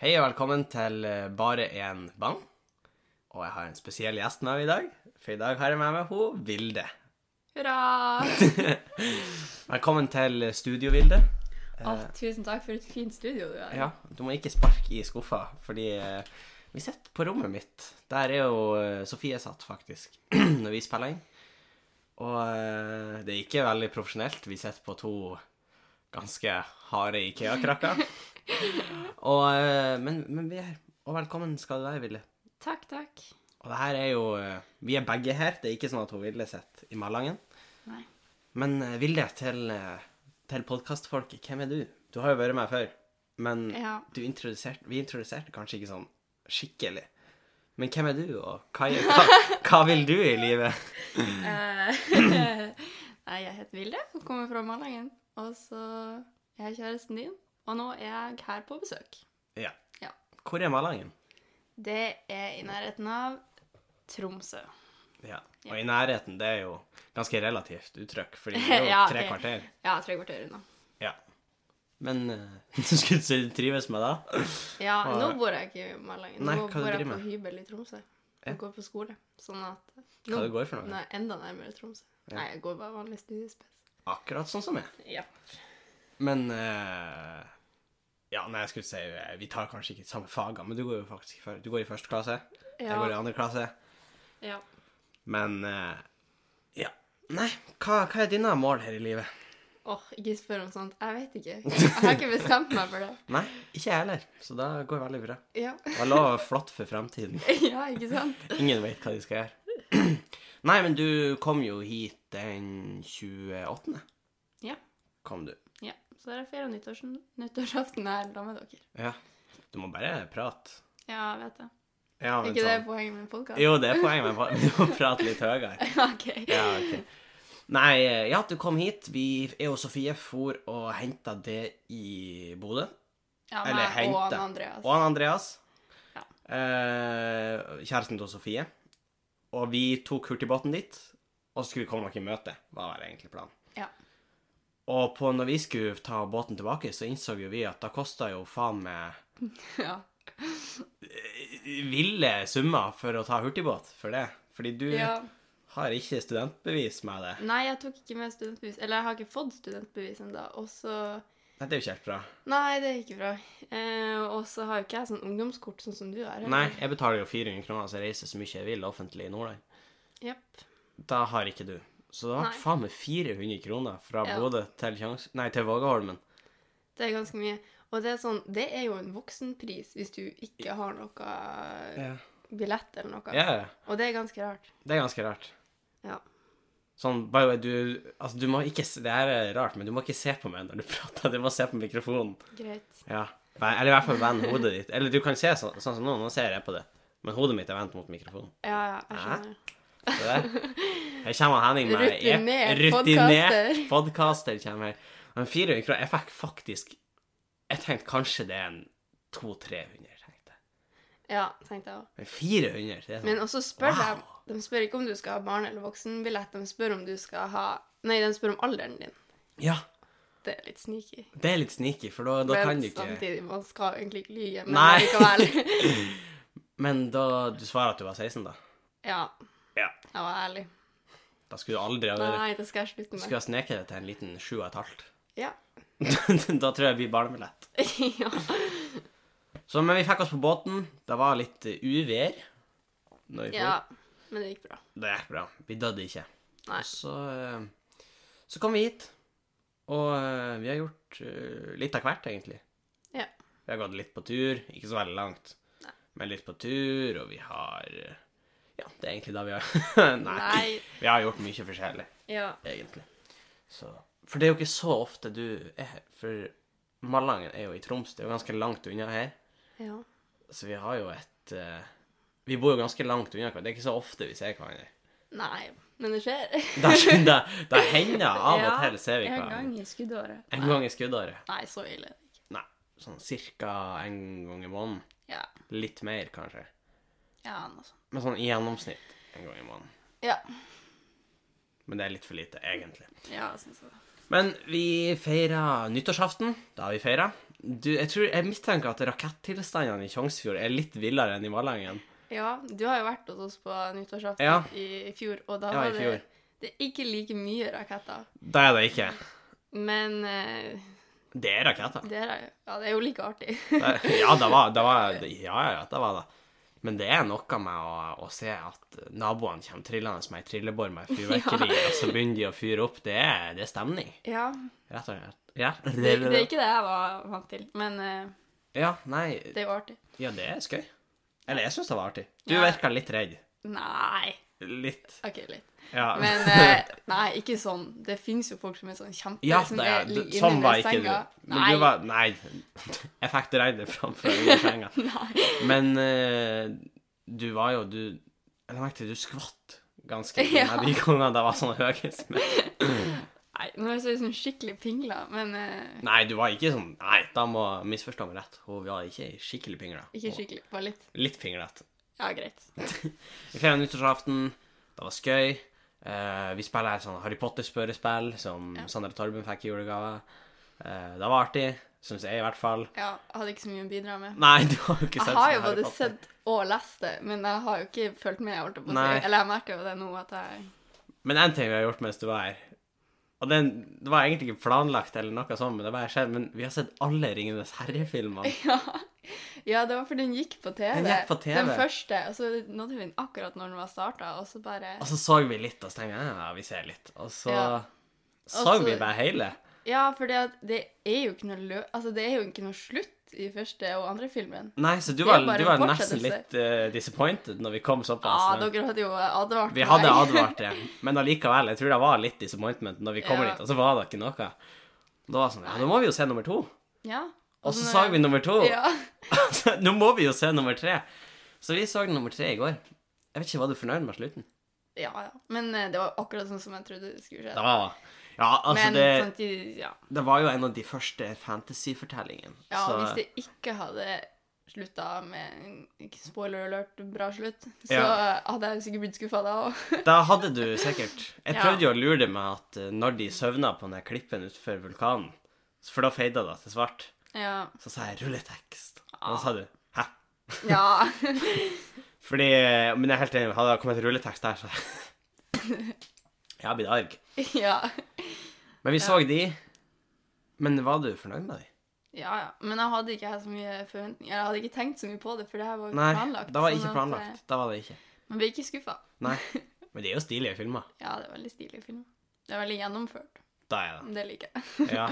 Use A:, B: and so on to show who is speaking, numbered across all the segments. A: Hei og velkommen til eh, Bare en bang. Og jeg har en spesiell gjest med meg i dag, for i dag har jeg med meg hun Vilde.
B: Hurra!
A: Velkommen til studio, Vilde.
B: Å, tusen takk for et fint studio du har.
A: Ja, du må ikke sparke i skuffa, fordi eh, vi sitter på rommet mitt. Der er jo eh, Sofie satt, faktisk, når vi spiller inn. Og eh, det er ikke veldig profesjonelt. Vi sitter på to ganske harde Ikea-krakker. Og, eh, men, men vi er her. Og velkommen skal du være, Vilde.
B: Takk, takk.
A: Og det her er jo eh, Vi er begge her. Det er ikke sånn at hun Vilde sitter i Malangen.
B: Nei.
A: Men eh, Vilde, til, eh, til podkastfolket, hvem er du? Du har jo vært med før, men
B: Ja.
A: du introduserte, vi introduserte kanskje ikke sånn skikkelig. Men hvem er du, og hva, er- hva, hva vil du i livet?
B: Eh, Nei, jeg heter Vilde og kommer fra Malangen. Og så er jeg kjæresten din, og nå er jeg her på besøk.
A: Ja.
B: Ja.
A: Hvor er Malangen?
B: Det er i nærheten av Tromsø.
A: Ja. Og i nærheten, det er jo ganske relativt uttrykk, fordi det er jo
B: Ja,
A: tre
B: det-
A: kvarter.
B: Ja, tre kvarter unna.
A: Ja. Men eh, du skulle si du trives med det?
B: Ja,
A: Og-
B: nå bor jeg ikke i Malangen.
A: Nei,
B: nå
A: hva du
B: bor jeg
A: driver
B: på
A: med?
B: hybel i Tromsø.
A: Ja.
B: Og går på skole. Sånn at
A: Hva du går for noe?
B: Nei, enda nærmere Tromsø. Nei, jeg går bare vanlig studiespes.
A: Akkurat sånn som jeg.
B: Ja.
A: Men eh, Ja, nei, jeg skulle si eh, Vi tar kanskje ikke samme faga, men du går jo faktisk i, fyr- du går i første klasse. Jeg går i
B: Ja.
A: andre klasse.
B: ja.
A: Men eh, Ja. Nei, hva, hva er dine mål her i livet?
B: Åh, ikke spør om sånt. Jeg vet ikke. Jeg har ikke bestemt meg for det.
A: Nei, ikke jeg heller, så det går veldig bra.
B: Ja,
A: Jeg lover flott for fremtiden.
B: ja ikke sant?
A: Ingen vet hva de skal gjøre. Nei, men du kom jo hit den 28.
B: Ja.
A: Kom du.
B: Ja, så er det ferie og nyttårs nyttårsaften her sammen med dere.
A: Ja. Du må bare prate.
B: Ja, jeg vet det.
A: Ja,
B: Er
A: men
B: ikke det
A: sånn-
B: poenget med podcast?
A: Jo, det er poenget, men du må prate litt høyere.
B: ok.
A: Ja, ok. Nei, eh, ja, du kom hit. Vi, jeg og Sofie for og henta det i Bodø.
B: Ja,
A: Eller
B: meg og
A: hente.
B: han Andreas.
A: Og han Andreas.
B: Ja.
A: Eh, kjæresten til Sofie. Og vi tok hurtigbåten dit, og så skulle vi komme noen i møte. Hva var egentlig planen?
B: Ja.
A: Og på når vi skulle ta båten tilbake, så innså jo vi at det kosta jo faen meg
B: Ja.
A: ville summer for å ta hurtigbåt for det. Fordi du
B: ja.
A: har ikke studentbevis med det.
B: Nei, jeg tok ikke med studentbevis. Eller jeg har ikke fått studentbevis enda. Og så...
A: Nei, Det er jo ikke helt bra.
B: Nei, det er ikke bra. Eh, og så har jo ikke jeg sånn ungdomskort sånn som du har. eller?
A: Nei, jeg betaler jo 400 kroner, så jeg reiser så mye jeg vil offentlig i Nordland.
B: Jepp.
A: Da har ikke du. Så det
B: Nei.
A: ble faen meg 400 kroner fra
B: Ja.
A: Bodø til, Kjangs- nei, til Vågaholmen.
B: Det er ganske mye. Og det er, sånn, det er jo en voksenpris hvis du ikke har noe
A: Ja.
B: billett eller noe.
A: ja,
B: Og det er ganske rart.
A: det er ganske rart.
B: Ja.
A: Sånn, by the way, du, altså, du må ikke, se- det her er rart, men du må ikke se på meg når du prater, du må se på mikrofonen.
B: Greit.
A: Ja. Nei, Eller i hvert fall vend hodet ditt. Eller du kan se sånn, sånn som nå, nå ser jeg på det. Men hodet mitt er vendt mot mikrofonen.
B: Ja, ja, jeg
A: Hæ?
B: skjønner.
A: Se der. Her kommer Henning med
B: Rutinert
A: ep- rutinert podkaster. kommer her. Men 400 kroner Jeg fikk faktisk Jeg tenkte kanskje det er en 200-300, tenkte jeg.
B: Ja, tenkte jeg òg.
A: Men 400, det er sånn
B: Men også spør
A: Wow.
B: de De spør ikke om du skal ha barne- eller voksenbillett, de spør om du skal ha Nei, de spør om alderen din.
A: Ja,
B: Det er litt sneaky.
A: det er litt sneaky, for da, da kan
B: Men
A: du ikke
B: samtidig, man skal egentlig ikke lyve, men
A: Nei.
B: likevel.
A: Men da du svarer at du var 16, da
B: Ja,
A: Ja.
B: jeg var ærlig.
A: Da skulle du aldri ha vært
B: Nei, det skal jeg
A: Du
B: slutte med.
A: skulle ha sneket deg til en liten 7,5.
B: Ja.
A: da tror jeg det blir barnebillett.
B: ja.
A: Så, men vi fikk oss på båten. Det var litt eh, uvær. Når vi for.
B: ja. Men det gikk bra.
A: Det gikk bra. Vi døde ikke.
B: Nei.
A: Og Så, eh, så kom vi hit, og eh, vi har gjort eh, litt av hvert, egentlig.
B: Ja.
A: Vi har gått litt på tur, ikke så veldig langt, men litt på tur, og vi har eh, Ja, det er egentlig det vi har. Nei.
B: Nei.
A: Vi har gjort mye forskjellig,
B: Ja.
A: egentlig. Så. For det er jo ikke så ofte du er her, for Malangen er jo i Troms, det er jo ganske langt unna her.
B: ja.
A: Så vi har jo et eh, Vi bor jo ganske langt unna hverandre. Det er ikke så ofte vi ser hverandre.
B: Nei, men det skjer.
A: Det, det, det hender av og
B: Ja,
A: til ser vi
B: en
A: hverandre.
B: gang i skuddåret.
A: En gang i skuddåret.
B: Nei, så ille.
A: Nei, sånn cirka en gang i måneden.
B: Ja,
A: Litt mer, kanskje.
B: ja noe sånt.
A: Men sånn i gjennomsnitt en gang i måneden.
B: Ja,
A: Men det er litt for lite, egentlig.
B: ja jeg syns det.
A: Men vi feira nyttårsaften. Da har vi feira. Du, jeg, tror, jeg mistenker at rakettilstandene i Tjongsfjord er litt villere enn i Malangen.
B: Ja, du har jo vært hos oss på nyttårsaften
A: Ja.
B: i, i fjor, og da
A: Ja, i
B: var det, det er ikke like mye raketter.
A: Det er det ikke.
B: Men eh,
A: Det er raketter.
B: det, er, ja, det er jo like artig.
A: Det er, ja, det var, det var Ja, ja, ja, det var det. Men det er noe med å, å se at naboene kommer trillende med ei trillebår med fyrverkeri, og så begynner de å fyre opp. Det er, det er stemning,
B: ja,
A: rett og slett. Ja.
B: det, det er ikke det jeg var vant til, men eh,
A: Ja, nei
B: det er jo artig.
A: Ja, det er skøy. Eller jeg syns det var artig. Du
B: Ja.
A: virka litt redd.
B: Nei.
A: Litt.
B: OK, litt.
A: Ja.
B: Men eh, nei, ikke sånn. Det fins jo folk som er sånn kjempe...
A: ja,
B: som
A: det
B: er-
A: er,
B: ligger
A: sånn
B: inne
A: var
B: med
A: ikke du.
B: senga.
A: Men
B: nei.
A: du var Nei. Jeg fikk det redde framfor under senga.
B: nei.
A: Men eh, du var jo Du Jeg la merke til at du skvatt ganske mye
B: Ja.
A: de gangene det var sånn høyest. Men,
B: nei. Nå er jeg sånn skikkelig pingla, men eh,
A: nei, du var ikke sånn Nei, da må jeg misforstå meg rett. Hun var ikke skikkelig pinglete.
B: ikke skikkelig. Bare litt.
A: Litt pinglete.
B: Ja, greit.
A: Vi feirer nyttårsaften. Det var skøy. Eh, vi spiller et sånn Harry Potter-spørrespill som
B: Ja.
A: Sandra Torben fikk i julegave. Eh, det var artig, syns jeg i hvert fall.
B: Ja, jeg hadde ikke så mye å bidra med.
A: Nei, du har jo ikke sett
B: Jeg har
A: sånn
B: jo
A: Harry
B: både
A: Potter.
B: sett og lest det, men jeg har jo ikke fulgt med. Jeg holdt på å
A: Nei.
B: si. Eller jeg merker jo det nå at jeg
A: Men én ting vi har gjort mens du var her Og den, Det var egentlig ikke planlagt, eller noe sånt, men det bare skjedde. Men vi har sett alle Ringenes herre-filmene.
B: ja. ja, det var fordi den gikk på TV.
A: Den gikk på TV.
B: Den første. Og så nådde vi den akkurat når den var starta, og så bare
A: Og så så vi litt, og så tenkte jeg ja, vi ser litt. Og så
B: Ja.
A: så
B: Og så-
A: vi bare hele.
B: Ja, for det er jo ikke noe lø... Altså, det er jo ikke noe slutt i første og andre filmen.
A: Nei, så du
B: Det er
A: var,
B: bare
A: du var
B: en
A: nesten
B: fortsettelse.
A: litt eh, disappointed når vi kom
B: Ja,
A: såpass. langt.
B: dere hadde jo advart
A: Vi
B: meg.
A: hadde advart det, men allikevel, jeg tror det var litt disappointment når vi kommer
B: Ja.
A: dit, og så var det ikke noe. Da var det sånn, ja, nå må vi jo se nummer to.
B: Ja.
A: Og så sa vi nummer to.
B: Ja.
A: Altså, nå må vi jo se nummer tre. Så vi så nummer tre i går. Jeg vet ikke, var du fornøyd med slutten?
B: ja, ja. Men eh, det var akkurat sånn som jeg trodde det skulle skje.
A: Det var, ja, altså
B: men sånn-
A: det,
B: samtidig, ja.
A: det var jo en av de første fantasy-fortellingene.
B: Ja,
A: så-
B: hvis det ikke hadde slutta med en ikke spoiler alert, bra slutt, så
A: Ja.
B: hadde jeg sikkert blitt skuffa da òg.
A: Da hadde du sikkert Jeg
B: Ja.
A: prøvde jo å lure det med at eh, når de søvna på den der klippen utenfor vulkanen, for da feida det til svart,
B: Ja.
A: så sa jeg 'rulletekst', og da sa du 'hæ'?
B: ja.
A: Fordi, eh, men jeg er helt enig, hadde det kommet rulletekst der, så Jeg har blitt arg.
B: ja.
A: Men vi så de. Men var du fornøyd med de?
B: Ja, ja. Men jeg hadde ikke her så mye forventninger. Jeg hadde ikke tenkt så mye på det, for det her var jo ikke
A: Nei,
B: planlagt.
A: da var
B: sånn
A: ikke
B: at,
A: planlagt.
B: eh,
A: Da var det ikke.
B: Man blir ikke skuffa.
A: Nei. Men de er jo stilige filmer.
B: Ja, det er veldig stilig film. Det er veldig gjennomført.
A: Da er
B: Det liker jeg.
A: det. Ja.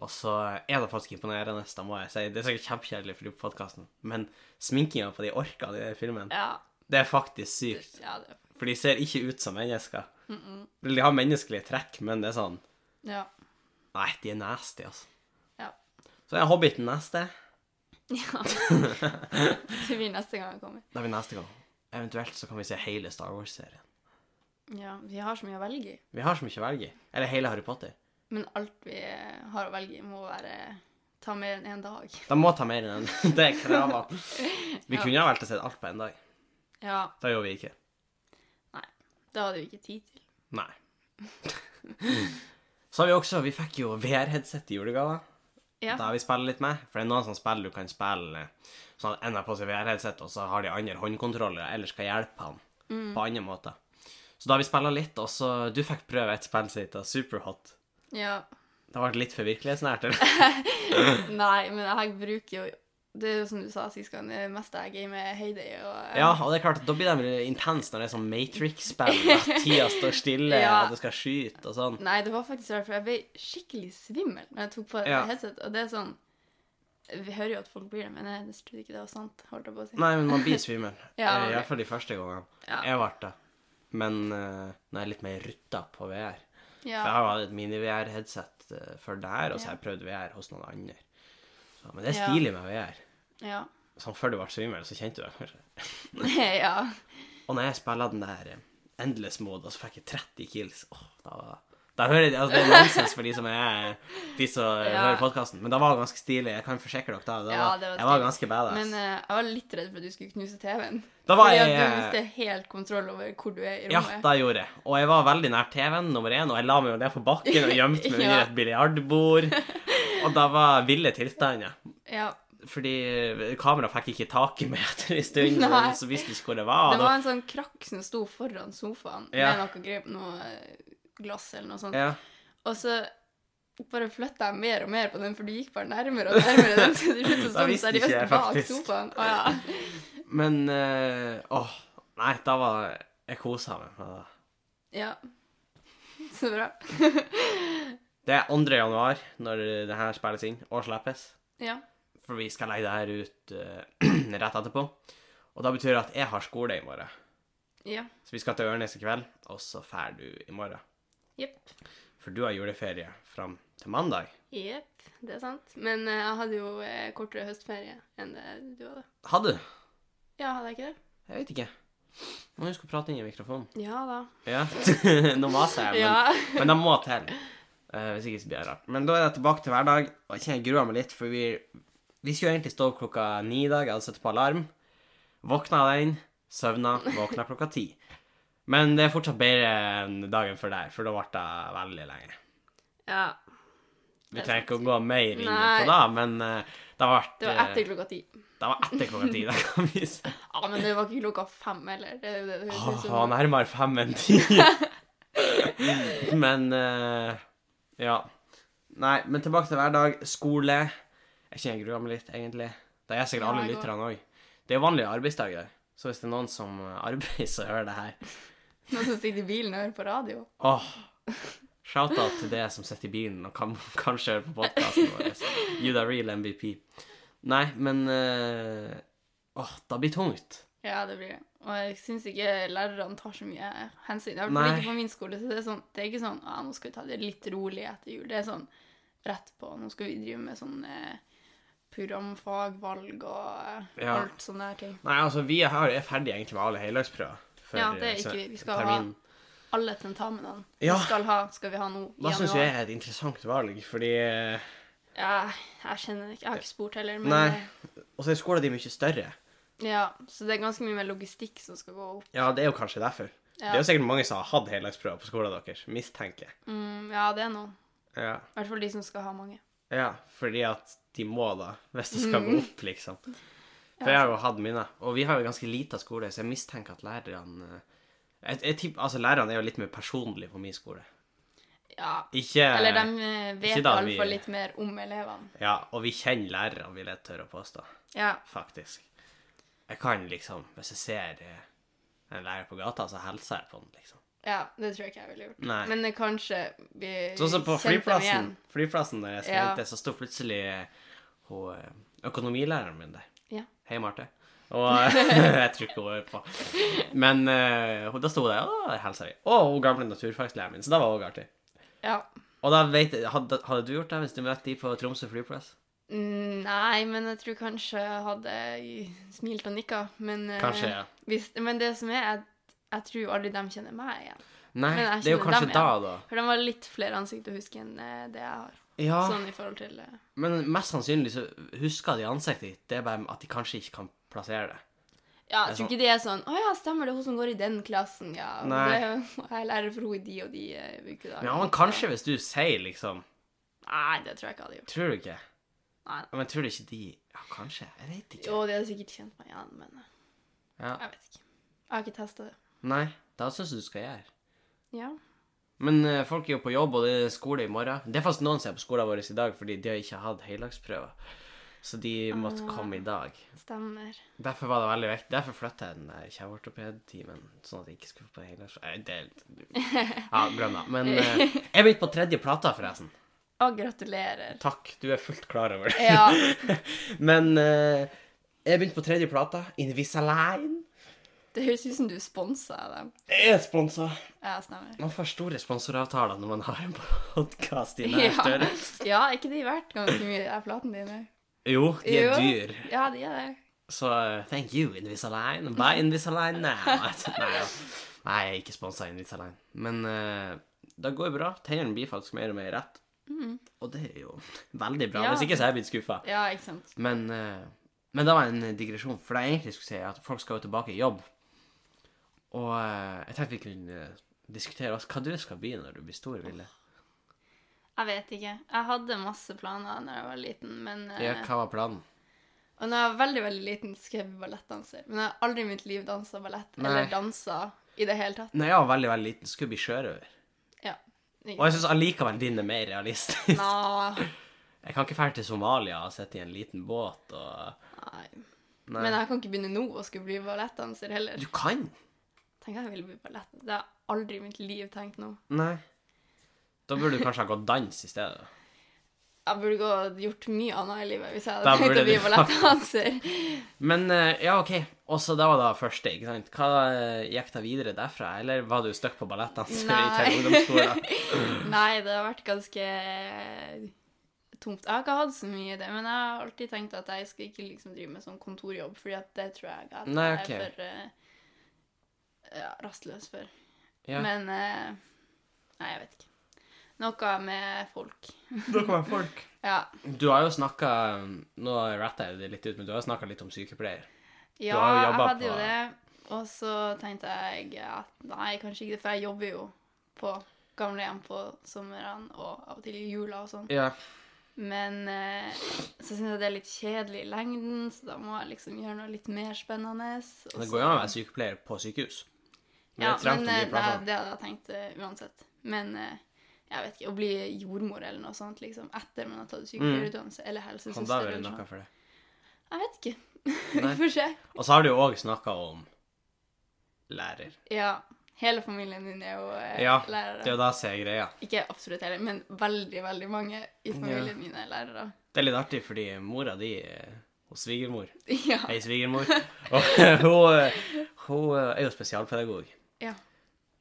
A: Og så er det faktisk imponerende, da må jeg si. Det er sikkert kjempekjedelig for de på podkasten, men sminkinga på de orkene i den filmen,
B: Ja.
A: det er faktisk sykt.
B: Ja, det,
A: For de ser ikke ut som mennesker.
B: mm -mm.
A: Eller De har menneskelige trekk, men det er sånn
B: ja.
A: Nei, de er nasty, altså.
B: Ja.
A: Så er Hobbiten neste.
B: ja. Det blir neste gang jeg kommer.
A: Da er vi neste gang. Eventuelt så kan vi se hele Star Wars-serien.
B: Ja, vi har så mye å velge i.
A: Vi har så mye å velge i. Eller hele Harry Potter.
B: Men alt vi har å velge i, må være ta mer enn én dag.
A: De må ta mer enn en. Det er kravene. Vi
B: Ja.
A: kunne ha valgt å se alt på en dag.
B: Ja,
A: Det gjorde vi ikke.
B: det hadde vi ikke tid til.
A: Nei. Så har vi også Vi fikk jo VR-headset i julegave.
B: Ja.
A: Da har vi spiller litt med. For det er noen sånne spill du kan spille eh, sånn at en har på seg VR-headset, og så har de andre håndkontroller eller skal hjelpe han
B: Mm.
A: på andre måter. Så da har vi spilla litt, og så Du fikk prøve et spill som heter Superhot.
B: ja.
A: Det ble litt for virkelighetsnært, eller?
B: Nei, men jeg bruker jo Det er jo som du sa sist gang, det meste jeg gamer, er Heyday og
A: Ja, og det er klart, da blir de intense når det er sånn Matrix-spill, at tida står stille,
B: Ja.
A: og du skal skyte og sånn.
B: Nei, det var faktisk rart, for jeg ble skikkelig svimmel når jeg tok på et
A: Ja.
B: headset, og det er sånn Vi hører jo at folk blir det, men jeg trodde ikke det var sant, holdt jeg på å si.
A: Nei, men man blir svimmel.
B: Ja,
A: Eh,
B: man
A: I
B: blir.
A: hvert fall de første gangene.
B: Ja.
A: Jeg ble det. Men eh, nå er jeg litt mer rutta på VR. For jeg
B: Ja.
A: har hatt et mini-VR-headset eh, før det her, og så har jeg prøvd VR hos noen andre. Så, men det er
B: Ja.
A: stilig med VR.
B: Ja.
A: Sånn før du ble svimmel, så kjente du det kanskje.
B: ja.
A: Og når jeg spiller den der eh, Endless Mode, og så fikk jeg 30 kills, åh, da var det da hører jeg, altså Det er nonsens for de som er De som
B: Ja.
A: hører podkasten, men det var ganske stilig. Jeg kan forsikre dere da. Det
B: Ja,
A: var,
B: det var
A: jeg var
B: stilig.
A: ganske badass.
B: Men eh, jeg var litt redd for at du skulle knuse TV-en.
A: da var
B: fordi
A: jeg
B: at du mister helt kontroll over hvor du er i
A: Ja,
B: rommet.
A: det gjorde jeg. Og jeg var veldig nær TV-en, nummer én, og jeg la meg jo ned på bakken og gjemte meg
B: Ja.
A: under et biljardbord. Og da var ville tilstander.
B: Ja.
A: Fordi kameraet fikk ikke tak i meg etter en stund,
B: Nei.
A: så visste ikke hvor det var.
B: Det
A: da-
B: var en sånn krakk som sto foran sofaen
A: Ja.
B: med noe, grep, noe eh, glass eller noe sånt.
A: ja.
B: Og så bare flytta jeg mer og mer på den, for du gikk bare nærmere og nærmere. Den, så til slutt så
A: Da
B: sto den
A: visste ikke jeg
B: seriøst bak
A: faktisk.
B: sofaen. Å, ja.
A: Men eh, åh, nei, da var jeg kosa meg. med det.
B: ja. Så bra.
A: Det er 2. januar når det her spilles inn og slippes.
B: Ja.
A: For vi skal legge det her ut eh, rett etterpå. Og da betyr det at jeg har skole i morgen.
B: Ja.
A: Så vi skal til Ørnes i kveld, og så drar du i morgen.
B: Jepp.
A: For du har juleferie fram til mandag.
B: Jepp. Det er sant. Men eh, jeg hadde jo eh, kortere høstferie enn det du hadde.
A: Hadde du?
B: Ja, hadde jeg ikke det?
A: Jeg vet ikke. Må huske å prate inn i mikrofonen.
B: Ja da.
A: Ja. Nå maser jeg, men,
B: Ja.
A: men jeg må til. Eh, hvis ikke så blir det rart. Men da er jeg tilbake til hverdag, og jeg kjenner jeg gruer meg litt, for vi, vi skulle egentlig stå opp klokka ni i dag. Jeg hadde satt på alarm. Våkna av den, søvna, våkna klokka ti. Men det er fortsatt bedre enn dagen før der, for da ble det veldig lenge.
B: ja.
A: Vi trenger ikke å gå mer inn
B: Nei.
A: på da, men eh, det har vært
B: Det var etter klokka ti.
A: det var etter klokka ti. Det kan vi si.
B: Ja, men det var ikke klokka fem heller. Det er jo det det
A: Åh,
B: høres ut
A: det var
B: som.
A: Ah, nærmere fem enn ti. men eh, ja. Nei, men tilbake til hverdag. Skole. Jeg kjenner jeg gruer meg litt, egentlig. Det er sikkert
B: Ja,
A: alle
B: jeg går.
A: lytterne òg. Det er vanlige arbeidsdager. Så hvis det er noen som arbeider, så hører det her.
B: Noen som sitter i bilen og hører på radio.
A: Åh, Shout-out til det som sitter i bilen og kan, kanskje hører på podkasten vår. You the real MVP. Nei, men eh, Åh, det blir tungt.
B: Ja, det blir det. Og jeg syns ikke lærerne tar så mye hensyn. I hvert fall
A: Nei.
B: ikke på min skole. Så det er, sånn, det er ikke sånn ah, 'Nå skal vi ta det litt rolig etter jul'. Det er sånn rett på. Nå skal vi drive med sånn eh, programfag, valg og eh,
A: Ja.
B: alt sånne der ting.
A: Nei, altså, vi er, er ferdige egentlig med alle heldagsprøver. før,
B: Ja, det er
A: eh,
B: ikke vi. Vi skal
A: terminen.
B: Alle tentamenene
A: Ja.
B: vi skal ha, skal vi ha nå i
A: Da syns jeg
B: januar.
A: er et interessant valg, fordi eh,
B: Ja, jeg kjenner det ikke. Jeg har ikke spurt heller. Men, eh,
A: Nei. Og så er skolen din mye større.
B: Ja, så det er ganske mye mer logistikk som skal gå opp.
A: Ja, det er jo kanskje derfor. Det
B: Ja,
A: er jo sikkert mange som har hatt heldagsprøver på skolen deres, mistenker jeg.
B: mm, ja det er noen.
A: Ja.
B: I hvert fall de som skal ha mange.
A: ja, fordi at de må da, hvis det
B: Mm.
A: skal gå opp, liksom. For
B: Ja,
A: jeg har jo hatt mine, og vi har jo ganske lita skole, så jeg mistenker at lærerne eh, jeg, jeg tipper, altså Lærerne er jo litt mer personlige på min skole.
B: Ja,
A: Ikke
B: Eller de eh, vet
A: ikke
B: i
A: da
B: hvert
A: vi-
B: fall litt mer om elevene.
A: Ja, og vi kjenner lærerne, vil jeg tørre å påstå.
B: Ja,
A: faktisk. Jeg kan liksom, hvis jeg ser eh, en lærer på gata, så hilser jeg på den, liksom.
B: ja, det tror jeg ikke jeg ville gjort.
A: Nei.
B: Men det kanskje vi
A: Sånn som på
B: kjente dem
A: flyplassen,
B: igjen.
A: flyplassen der jeg skal
B: Ja.
A: hente, så står plutselig eh, hun, eh, økonomilæreren min der.
B: Ja.
A: Hei, Marte. Og eh, jeg tror ikke hun hører på. Men eh, hun- da sto hun der, og da hilser vi. Og hun gamle naturfaglæreren min, så det var også artig.
B: Ja.
A: Og da vet jeg, hadde, hadde du gjort det hvis du møtte de på Tromsø flyplass?
B: Mm, Nei, men jeg tror kanskje jeg hadde smilt og nikka. Men, eh,
A: Kanskje, ja.
B: hvis, men det som er, jeg, jeg tror jo aldri de kjenner meg igjen.
A: Nei,
B: Men jeg
A: det er jo
B: kjenner
A: kanskje
B: dem
A: da,
B: igjen.
A: da.
B: For de var litt flere ansikt å huske enn eh, det jeg har.
A: Ja.
B: Sånn i forhold til eh,
A: Men mest sannsynlig så husker de ansiktet ditt, det er bare at de kanskje ikke kan plassere det. Det
B: Ja,
A: er
B: jeg tror ikke det er sånn 'Å ja, stemmer det, er hun som går i den klassen', ja. og
A: Nei.
B: Det, er jo- jeg lærer for henne i de og de eh, ukedagene.
A: Ja, men kanskje hvis du sier liksom
B: Nei, det tror jeg ikke jeg hadde gjort.
A: Tror du ikke?
B: Nei.
A: Ja, Men tror du ikke de Ja, kanskje? Jeg vet ikke.
B: Jo, de hadde sikkert kjent meg igjen, men eh,
A: Ja.
B: jeg vet ikke. Jeg har ikke testa det.
A: Nei, da syns jeg du skal gjøre.
B: Ja.
A: Men eh, folk er jo på jobb, og det er skole i morgen. Det er faktisk noen som er på skolen vår i dag, fordi de har ikke hatt heldagsprøver. Så de måtte
B: Ah.
A: komme i dag.
B: Stemmer.
A: Derfor var det veldig vekt. Derfor flytta jeg den der kjeveortopedtimen, sånn at jeg ikke skulle på heldagsprøve. Nei, det Ja, glem det. Men eh, jeg begynte på tredje plata, forresten.
B: Å, gratulerer.
A: Takk, du er fullt klar over det.
B: Ja.
A: Men eh, jeg begynte på tredje plata, Invisalign.
B: Det høres ut som du sponsa dem.
A: Jeg er sponsa.
B: Ja, stemmer.
A: Man får store sponsoravtaler når man har en podkast i denne
B: Ja.
A: større.
B: ja, er ikke de verdt ganske mye, de platene dine?
A: Jo, de er
B: Jo.
A: dyr.
B: Ja, de er det.
A: Så eh, thank you, Invisalign. Buy Invisalign now. Nei, ja. Nei, jeg er ikke sponsa av Invisalign. Men eh, det går bra. Tennene blir faktisk mer og mer rett. Og det er jo veldig bra.
B: Ja.
A: Hvis ikke så er jeg blitt skuffa.
B: Ja, ikke sant.
A: Men, eh, men det var en digresjon, for det jeg egentlig skulle si, er at folk skal jo tilbake i jobb. Og eh, jeg tenkte vi kunne eh, diskutere oss hva du skal bli når du blir stor, Ville.
B: Jeg vet ikke. Jeg hadde masse planer da jeg var liten, men eh,
A: Ja, hva var planen?
B: Og når jeg var veldig veldig liten, skulle jeg bli ballettdanser. Men jeg har aldri i mitt liv dansa ballett,
A: Nei.
B: eller dansa i det hele tatt.
A: Når jeg var veldig, veldig liten, skulle jeg bli sjørøver.
B: Ja.
A: Og jeg syns allikevel din er mer realistisk.
B: Nei.
A: Jeg kan ikke dra til Somalia og sitte i en liten båt og
B: Nei.
A: Nei.
B: Men jeg kan ikke begynne nå å skulle bli ballettdanser heller.
A: Du kan!
B: Tenk at jeg ville bli ballett. Det har jeg aldri i mitt liv tenkt nå.
A: Nei. Da burde du kanskje ha gått dans i stedet.
B: Jeg burde gå og gjort mye annet i livet hvis jeg
A: Da
B: hadde tenkt
A: burde
B: å bli
A: du-
B: ballettdanser.
A: Men eh, ja, OK. Og så det var da første, ikke sant. Hva eh, gikk da videre derfra? Eller var du stuck på ballettdans
B: Nei.
A: til ungdomsskolen?
B: Nei, det har vært ganske tomt. Jeg har ikke hatt så mye i det, men jeg har alltid tenkt at jeg skal ikke liksom drive med sånn kontorjobb, fordi at det tror jeg at
A: Nei,
B: jeg
A: ok.
B: er for eh, ja, rastløs for.
A: Ja.
B: Men eh, Nei, jeg vet ikke. Noe med folk.
A: Noe med folk.
B: Ja.
A: Du har jo snakka Nå ratta jeg det litt ut, men du har snakka litt om sykepleier.
B: Ja,
A: har jo
B: jeg
A: jobbet
B: hadde jo
A: på-
B: det. Og så tenkte jeg at nei, kanskje ikke det, for jeg jobber jo på gamlehjem på somrene og av og til i jula og sånn.
A: Ja.
B: Men eh, så syns jeg det er litt kjedelig i lengden, så da må jeg liksom gjøre noe litt mer spennende. og
A: Det
B: så-
A: går jo an å være sykepleier på sykehus. Men
B: ja,
A: det er trangt
B: men,
A: om
B: eh,
A: de
B: det,
A: plassene.
B: det hadde jeg tenkt eh, uansett. Men eh, jeg vet ikke Å bli jordmor eller noe sånt liksom, etter man har tatt sykepleierutdannelse eller
A: Mm. Kan da
B: helsesøster
A: være
B: eller noe
A: noe
B: sånt.
A: for det.
B: Jeg vet ikke.
A: Nei.
B: Vi får se.
A: Og så har du jo òg snakka om lærer.
B: Ja. Hele familien din er jo eh,
A: Ja, Det er
B: lærere.
A: jo da som er greia.
B: Ikke absolutt hele, men veldig, veldig mange i familien min er lærere.
A: Det er litt artig, fordi mora di eh, hun svigermor
B: Ja.
A: Hei, svigermor. Og hun, eh, hun eh, er jo spesialpedagog.
B: Ja.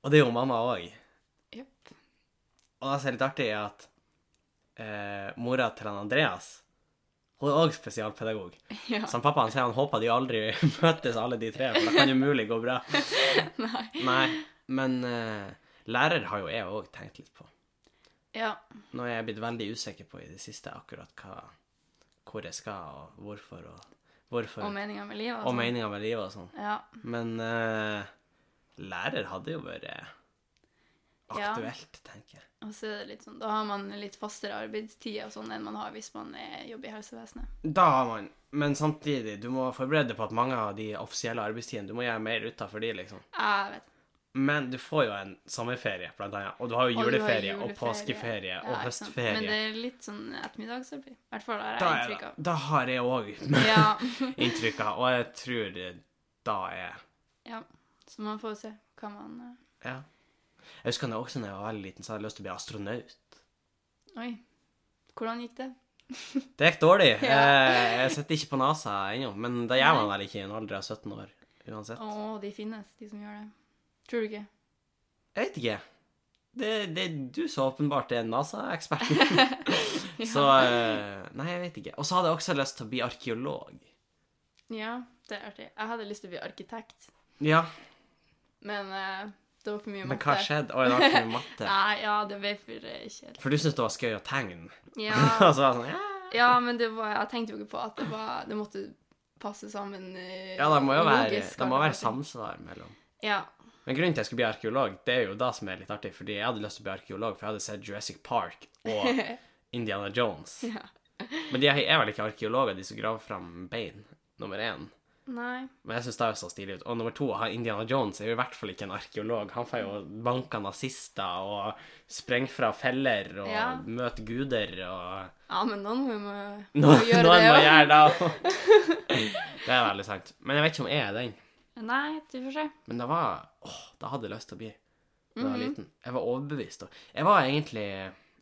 A: Og det er jo mamma òg.
B: Jepp.
A: Og det som er litt artig, er at eh, mora til han Andreas hun er òg spesialpedagog.
B: Ja.
A: Som pappaen sier, han håper de aldri møtes, alle de tre, for det kan umulig gå bra.
B: Nei.
A: Nei, men eh, lærer har jo jeg òg tenkt litt på.
B: Ja.
A: Nå er jeg blitt veldig usikker på i det siste akkurat hva, hvor jeg skal, og hvorfor, og hvorfor,
B: Og meninga med livet.
A: og
B: sånn.
A: meninga med livet og sånn.
B: Ja.
A: Men eh, lærer hadde jo vært
B: Ja.
A: aktuelt, tenker jeg.
B: Og så er det litt sånn, Da har man litt fastere arbeidstid og sånn enn man har hvis man eh, jobber i helsevesenet.
A: Da har man Men samtidig, du må forberede deg på at mange av de offisielle arbeidstidene Du må gjøre mer ut av for de, liksom.
B: Jeg vet.
A: Men du får jo en sommerferie, blant annet. Og du har jo
B: Og du har
A: juleferie, og,
B: juleferie.
A: påskeferie,
B: Ja,
A: og
B: ikke sant.
A: høstferie.
B: Men det er litt sånn ettermiddagsarbeid. I hvert fall har
A: da,
B: jeg
A: er,
B: inntrykk av.
A: det- da har jeg òg
B: Ja.
A: inntrykk av, og jeg tror det- da er
B: ja. Så man får se hva man eh,
A: Ja. Jeg husker da også når jeg var veldig liten, så hadde jeg lyst til å bli astronaut.
B: eh, Oi. Hvordan gikk det?
A: Det gikk dårlig.
B: Ja.
A: Eh, Jeg sitter ikke på NASA ennå, men det gjør man vel ikke i en alder av 17 år uansett.
B: Å, de finnes, de som gjør det. Tror du ikke?
A: Jeg vet ikke. Det, det, du så åpenbart er NASA-eksperten. Så eh, Nei, jeg vet ikke. Og så hadde jeg også lyst til å bli arkeolog.
B: Ja, det er artig. Jeg hadde lyst til å bli arkitekt,
A: Ja,
B: men eh, det var for mye
A: men hva skjedde? Å, jeg har ikke matte.
B: Nei, ja, det ble for eh, kjedelig.
A: For du syntes det var skøy å tegne?
B: Ja.
A: Og så var jeg sånn, ja.
B: Ja, men det var, jeg tenkte jo ikke på at det, var, det måtte passe sammen eh,
A: ja, det må jo være,
B: logisk,
A: det må
B: og
A: være
B: sånne ting.
A: samsvar mellom
B: Ja.
A: Men grunnen til jeg skulle bli arkeolog, det er jo det som er litt artig, fordi jeg hadde lyst til å bli arkeolog, for jeg hadde sett Jurassic Park og Indiana Jones.
B: ja.
A: Men de er vel ikke arkeologer, de som graver fram bein, nummer én.
B: Nei.
A: Men jeg syns det er jo så stilig ut. Og nummer to, han Indiana Jones er jo i hvert fall ikke en arkeolog. Han får jo
B: Mm.
A: banka nazister og sprenge fra feller og
B: Ja.
A: møte guder og
B: Ja, men noen må må
A: Nå,
B: gjøre
A: noen
B: det
A: må
B: også.
A: gjøre det òg. Det er veldig sant. Men jeg vet ikke om jeg er den.
B: Nei, du får se.
A: Men det var Åh, da hadde jeg lyst til å bli. Da jeg var
B: Mhm.
A: liten. Jeg var overbevist. Og jeg var egentlig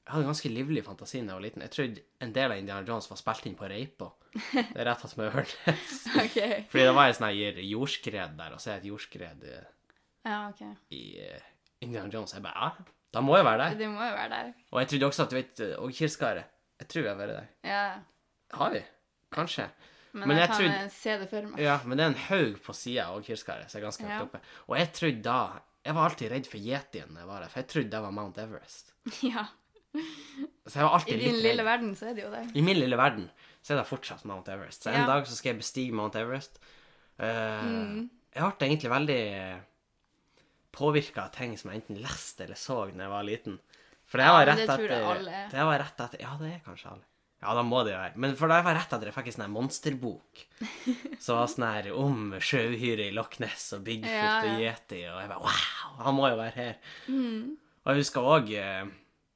A: Jeg hadde ganske livlig fantasi da jeg var liten. Jeg trodde en del av Indiana Jones var spilt inn på Reipa. Det er rett og slett Ørnes.
B: OK.
A: Fordi det var en sånn her jordskred der, og så er det et jordskred eh, i,
B: Ja, ok.
A: i eh, Indiana Jones. Jeg bare Ja, da må jeg være der.
B: Det må jo være der.
A: Og jeg trodde også at du vet eh, Og Kirskaret. Jeg tror jeg har vært der.
B: Ja.
A: Har vi? Kanskje.
B: Men,
A: Men
B: jeg,
A: jeg
B: kan
A: trodde-
B: eh, se det for meg.
A: Ja, men det er en haug på sida av Kirskaret, så jeg er ganske høyt
B: Ja.
A: oppe. Og jeg trodde da Jeg var alltid redd for yetien når jeg var der, for jeg trodde det var Mount Everest.
B: Ja.
A: Så jeg var alltid
B: I din
A: litt
B: lille
A: redd.
B: verden så er det jo det.
A: I min lille verden så er det fortsatt Mount Everest. Så en
B: Ja.
A: dag så skal jeg bestige Mount Everest. Eh,
B: Mm.
A: Jeg ble egentlig eh, veldig påvirka av ting som jeg enten leste eller så da jeg var liten. For det her var
B: Ja,
A: rett
B: men det
A: etter
B: tror jeg alle er.
A: Det her var rett etter Ja, det er kanskje alle. Ja, da må det jo være. Men for det her var rett etter jeg fikk en sånn her monsterbok. Så var sånn her om sjøuhyret i Loch Ness og Bigfoot
B: Ja, ja.
A: og Yeti, og jeg bare wow! Han må jo være her.
B: Mm.
A: Og jeg husker òg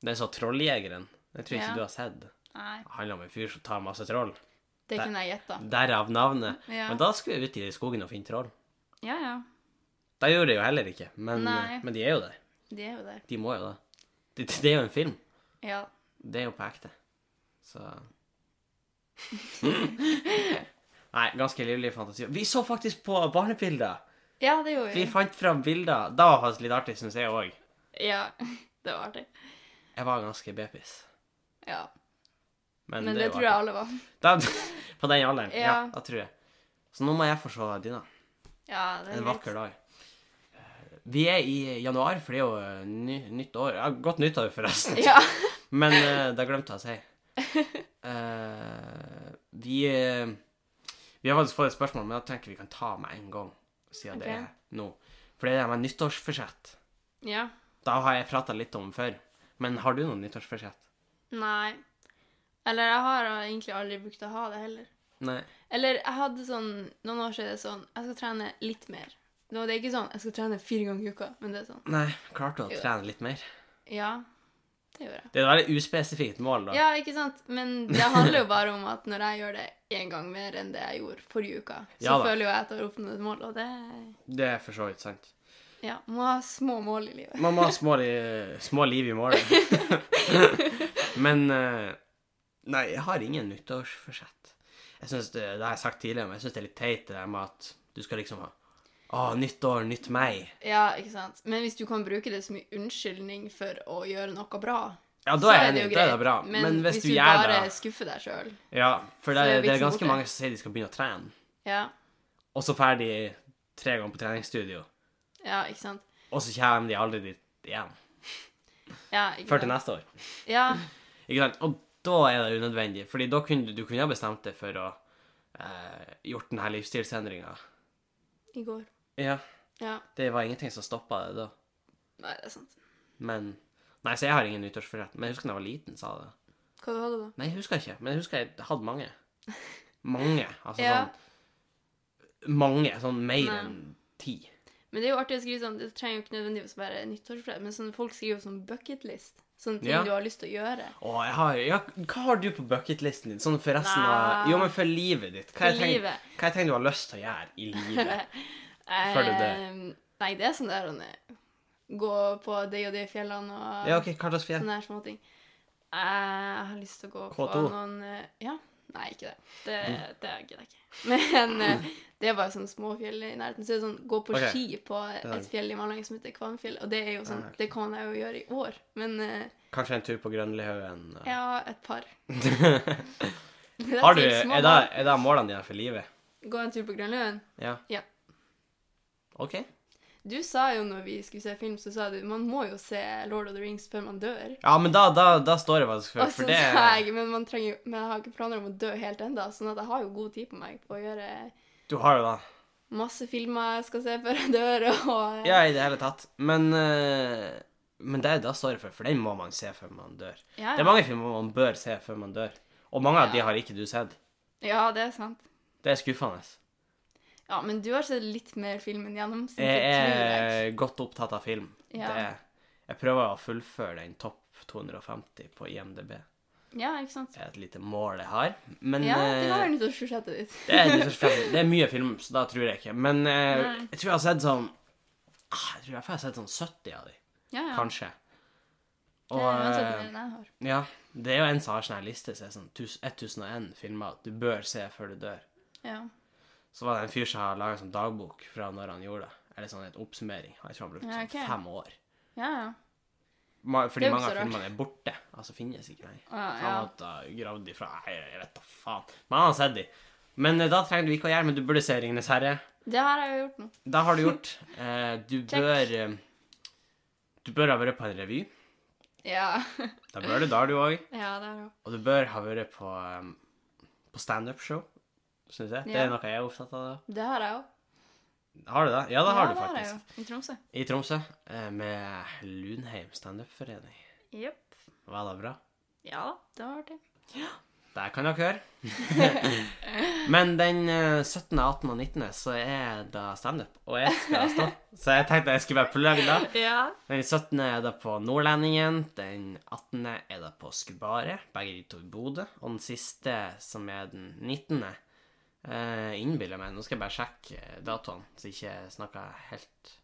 A: den så Trolljegeren. Den tror jeg ikke
B: Ja.
A: du har sett.
B: Nei,
A: Det handler om en fyr som tar masse troll.
B: det
A: Nei.
B: kunne jeg gjetta.
A: Derav navnet.
B: Ja.
A: Men da skulle jeg ut i skogen og finne troll.
B: Ja, ja.
A: Det gjorde jeg jo heller ikke, men,
B: Nei.
A: men de er jo der.
B: De er jo der.
A: De må jo det. Det, det er jo en film.
B: Ja.
A: Det er jo på ekte. Så Nei, ganske livlig fantasi. Vi så faktisk på barnebilder!
B: ja, det gjorde
A: Vi
B: vi.
A: fant fram bilder. Da var det litt artig, syns jeg òg.
B: Ja, det var artig.
A: Jeg var ganske bepis.
B: Ja.
A: Men,
B: Men
A: det,
B: det tror jeg alle var.
A: Da, på den alderen. Ja.
B: Ja.
A: da tror jeg. Så nå må jeg få se dine.
B: Ja, det er
A: En
B: greit.
A: vakker dag. Eh, Vi er i januar, for det er jo eh, ny, nytt år. Ja, godt nyttår, forresten.
B: Ja.
A: Men eh, det glemte jeg å si. Eh, vi, eh, vi har faktisk fått et spørsmål, men jeg tenker vi kan ta med en gang. Siden det
B: Ok.
A: er nå. For det er det med nyttårsforsett.
B: ja.
A: Da har jeg prata litt om før. Men har du noen nyttårsforsett?
B: Nei. Eller jeg har egentlig aldri brukt å ha det heller.
A: Nei.
B: Eller jeg hadde sånn Noen år siden sånn Jeg skal trene litt mer. Nå, det er ikke sånn jeg skal trene fire ganger i uka, men det er sånn.
A: Nei, Klarte du
B: Jo.
A: å trene litt mer?
B: Ja, det gjør jeg.
A: Det er et veldig uspesifikt mål, da.
B: Ja, ikke sant? Men det handler jo bare om at når jeg gjør det én gang mer enn det jeg gjorde forrige uke, så
A: Ja da.
B: føler jo jeg at jeg har oppnådd et mål, og det
A: Det er for så vidt sant.
B: Ja, må ha små mål i livet.
A: Man må ha små, li- små liv i morgen. men eh, Nei, jeg har ingen nyttårsforsett. Jeg synes det, det har jeg sagt tidligere, men jeg syns det er litt teit det der med at du skal liksom ha Å, nytt år, nytt meg.
B: Ja, ikke sant? Men hvis du kan bruke det som en unnskyldning for å gjøre noe bra,
A: Ja, da
B: så
A: er jeg enig. Da er det bra.
B: Men, hvis, du,
A: gjør
B: bare
A: det
B: skuffer deg sjøl
A: Ja, for det,
B: så er
A: det er
B: vitsen
A: ganske
B: borte.
A: mange som sier de skal begynne å trene,
B: ja,
A: og så ferdig tre ganger på treningsstudio,
B: ja, ikke sant?
A: og så kommer de aldri dit igjen.
B: Ja, ikke
A: Før til
B: sant?
A: neste år.
B: Ja,
A: Ikke sant? Og da er det unødvendig, fordi da kunne du- du kunne ha bestemt deg for å eh, gjort denne livsstilsendringa.
B: i går.
A: Ja,
B: Ja,
A: det var ingenting som stoppa det da.
B: nei, det er sant.
A: Men Nei, så jeg har ingen nyttårsforsett. Men jeg husker da jeg var liten, sa jeg det.
B: Hva du hadde du da?
A: Nei, jeg husker ikke, men jeg husker jeg hadde mange. Mange. Altså
B: Ja.
A: sånn Mange. Sånn mer
B: Nei.
A: enn ti.
B: Men det er jo artig å skrive sånn, det trenger jo ikke nødvendigvis å være nyttårsforsett, men sånn, folk skriver jo sånn bucketlist, sånne ting
A: Ja.
B: du har lyst til å gjøre.
A: Å, jeg har ja, Hva har du på bucketlisten din? Sånn for resten av
B: Nei.
A: Jo, men for livet ditt. Hva
B: For
A: jeg tenker-
B: livet.
A: hva jeg tenker du har lyst til å gjøre i livet? Før du dør.
B: Eh, Nei, det er sånn der, Ronny. Gå på de og de fjellene og
A: Ja, OK, hva slags fjell?
B: sånne her små ting. Jeg har lyst til å gå på
A: K2.
B: noen eh, Ja. Nei, ikke det. Det,
A: Mm.
B: det gidder jeg ikke. Men eh, det er bare sånn små fjell i nærheten. Så det er sånn, gå på
A: Ok.
B: ski på
A: er-
B: et fjell i Malang som heter Kvamfjell. Og det er jo sånn,
A: Ah, ok.
B: det kan jeg jo gjøre i år. Men eh,
A: Kanskje en tur på Grønlihaugen? eh.
B: ja, et par. Det
A: Har du,
B: sikkert små
A: er, det, er det målene dine for livet?
B: mål. Gå en tur på Grønløen.
A: Ja.
B: Ja.
A: OK.
B: Du sa jo når vi skulle se film, så sa du man må jo se Lord of the Rings før man dør.
A: Ja, men da, da, da står det faktisk for,
B: Og så
A: for
B: sa
A: det
B: jeg, men, man trenger, jo- men jeg har ikke planer om å dø helt ennå, sånn at jeg har jo god tid på meg på å gjøre
A: Du har jo det.
B: masse filmer jeg skal se før jeg dør, og eh,
A: Ja, i det hele tatt. Men, eh, men det, da står det for, for den må man se før man dør.
B: ja,
A: Det er mange filmer man bør se før man dør, og mange av de har ikke du sett.
B: ja, det er sant.
A: Det er skuffende.
B: Ja, men du har sett litt mer film enn gjennomsnittet,
A: Jeg
B: tror jeg.
A: er godt opptatt av film.
B: Ja.
A: Det, jeg prøver å fullføre den topp 250 på IMDb.
B: Ja, ikke sant?
A: Det er et lite mål jeg har. Men
B: Ja, det kan
A: eh,
B: være nyttårsforsettet ditt.
A: Det er, litt forskjellig. det er mye film, så da tror jeg ikke. Men eh,
B: Nei.
A: jeg tror jeg har sett sånn ah, Jeg tror jeg har sett sånn 70 av dem,
B: Ja, ja.
A: kanskje.
B: Det
A: Og
B: er uansett
A: eh,
B: mer enn jeg har.
A: ja, det er jo en som har sånn her liste som er sånn 1000 1001 filmer du bør se før du dør.
B: Ja.
A: Så var det en fyr som har laga sånn dagbok fra når han gjorde det. Eller sånn et oppsummering. Jeg tror han brukte
B: Ja, ok.
A: sånn fem år.
B: Ja, ja.
A: Ma-
B: Det er
A: Fordi
B: jo
A: mange
B: så
A: av
B: rart.
A: filmene er borte. Altså finnes ikke lenger.
B: Ja,
A: Så
B: ja.
A: Han måtte ha gravd ifra Nei, jeg vet da faen. Men han har sett de. Men eh, da trenger du ikke å gjøre men du burde se 'Ringenes herre'.
B: Det har jeg jo gjort nå.
A: Da har du gjort. Eh, du
B: Check.
A: bør eh, Du bør ha vært på en revy.
B: Ja,
A: Da bør du, da har du òg.
B: ja det har jeg jo.
A: Og du bør ha vært på, um, på standup-show, syns jeg. Det
B: Ja.
A: er noe jeg er opptatt av. da.
B: Det har jeg jo.
A: Har du det? Ja, det har
B: ja,
A: du
B: det har jeg
A: faktisk.
B: jo. I Tromsø.
A: I Tromsø, eh, med Lunheim standup-forening.
B: Jepp.
A: Var det bra?
B: Ja, det var artig.
A: Der kan dere høre. Men den eh, 17., 18. og 19. så er det standup, og jeg skal stå. Så jeg tenkte jeg skulle være plugg da.
B: Ja.
A: Den 17. er det på Nordlendingen, den 18. er det på Skubbaret, begge de to i Bodø. Og den siste, som er den 19., eh, innbiller jeg meg. Nå skal jeg bare sjekke eh, datoen, så jeg ikke snakker helt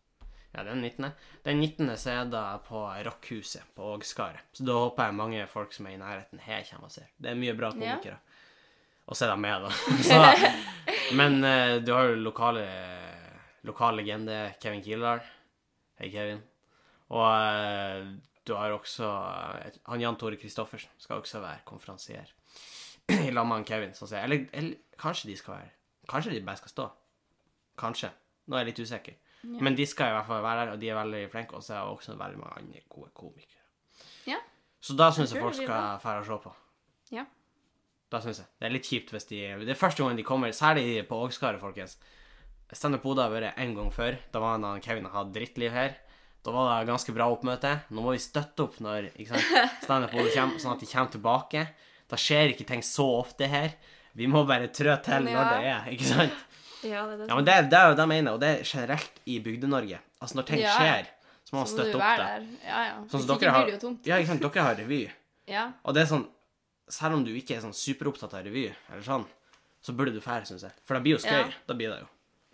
A: Ja, den 19. Den 19. så er det på Rockhuset på Ågskaret. Så da håper jeg mange folk som er i nærheten her, kommer og ser. Det er mye bra komikere. Og så er de med, da. så, men eh, du har jo lokale lokal legende Kevin Kildahl. Hei, Kevin. Og eh, du har også eh, et- Han Jan Tore Kristoffersen skal også være konferansier. I lag med han Kevin. Sånn sier jeg. Eller, eller kanskje de skal være Kanskje de bare skal stå. Kanskje. Nå er jeg litt usikker.
B: Ja.
A: Men de skal i hvert fall være der, og de er veldig flinke. Og så er det også veldig mange andre gode komikere.
B: Ja.
A: Så da syns
B: Jeg
A: jeg
B: tror
A: folk
B: det blir
A: skal dra og se på.
B: Ja.
A: Da synes jeg. Det er litt kjipt hvis de Det er første gangen de kommer, særlig på Ågskaret, folkens. Standup Oda har vært en gang før. Da var han og Kevin hadde drittliv her. Da var det ganske bra oppmøte. Nå må vi støtte opp når ikke sant, Standup Oda kommer, sånn at de kommer tilbake. Da skjer ikke ting så ofte her. Vi må bare trå til når det er, ikke sant?
B: Ja, det er det.
A: Ja, men det, det er jo det jeg mener, og det er generelt i Bygde-Norge. Altså, når ting
B: Ja.
A: skjer, så må man
B: Så må
A: støtte
B: du
A: opp
B: være
A: det.
B: der. Ja, ja.
A: Sånn
B: Hvis
A: som
B: ikke
A: dere har
B: blir det jo tomt.
A: Ja, ikke sant, dere har revy.
B: Ja.
A: Og det er sånn Selv om du ikke er sånn superopptatt av revy, eller sånn, så burde du fære, syns jeg. For det blir jo skøy.
B: Ja.
A: Da blir det jo.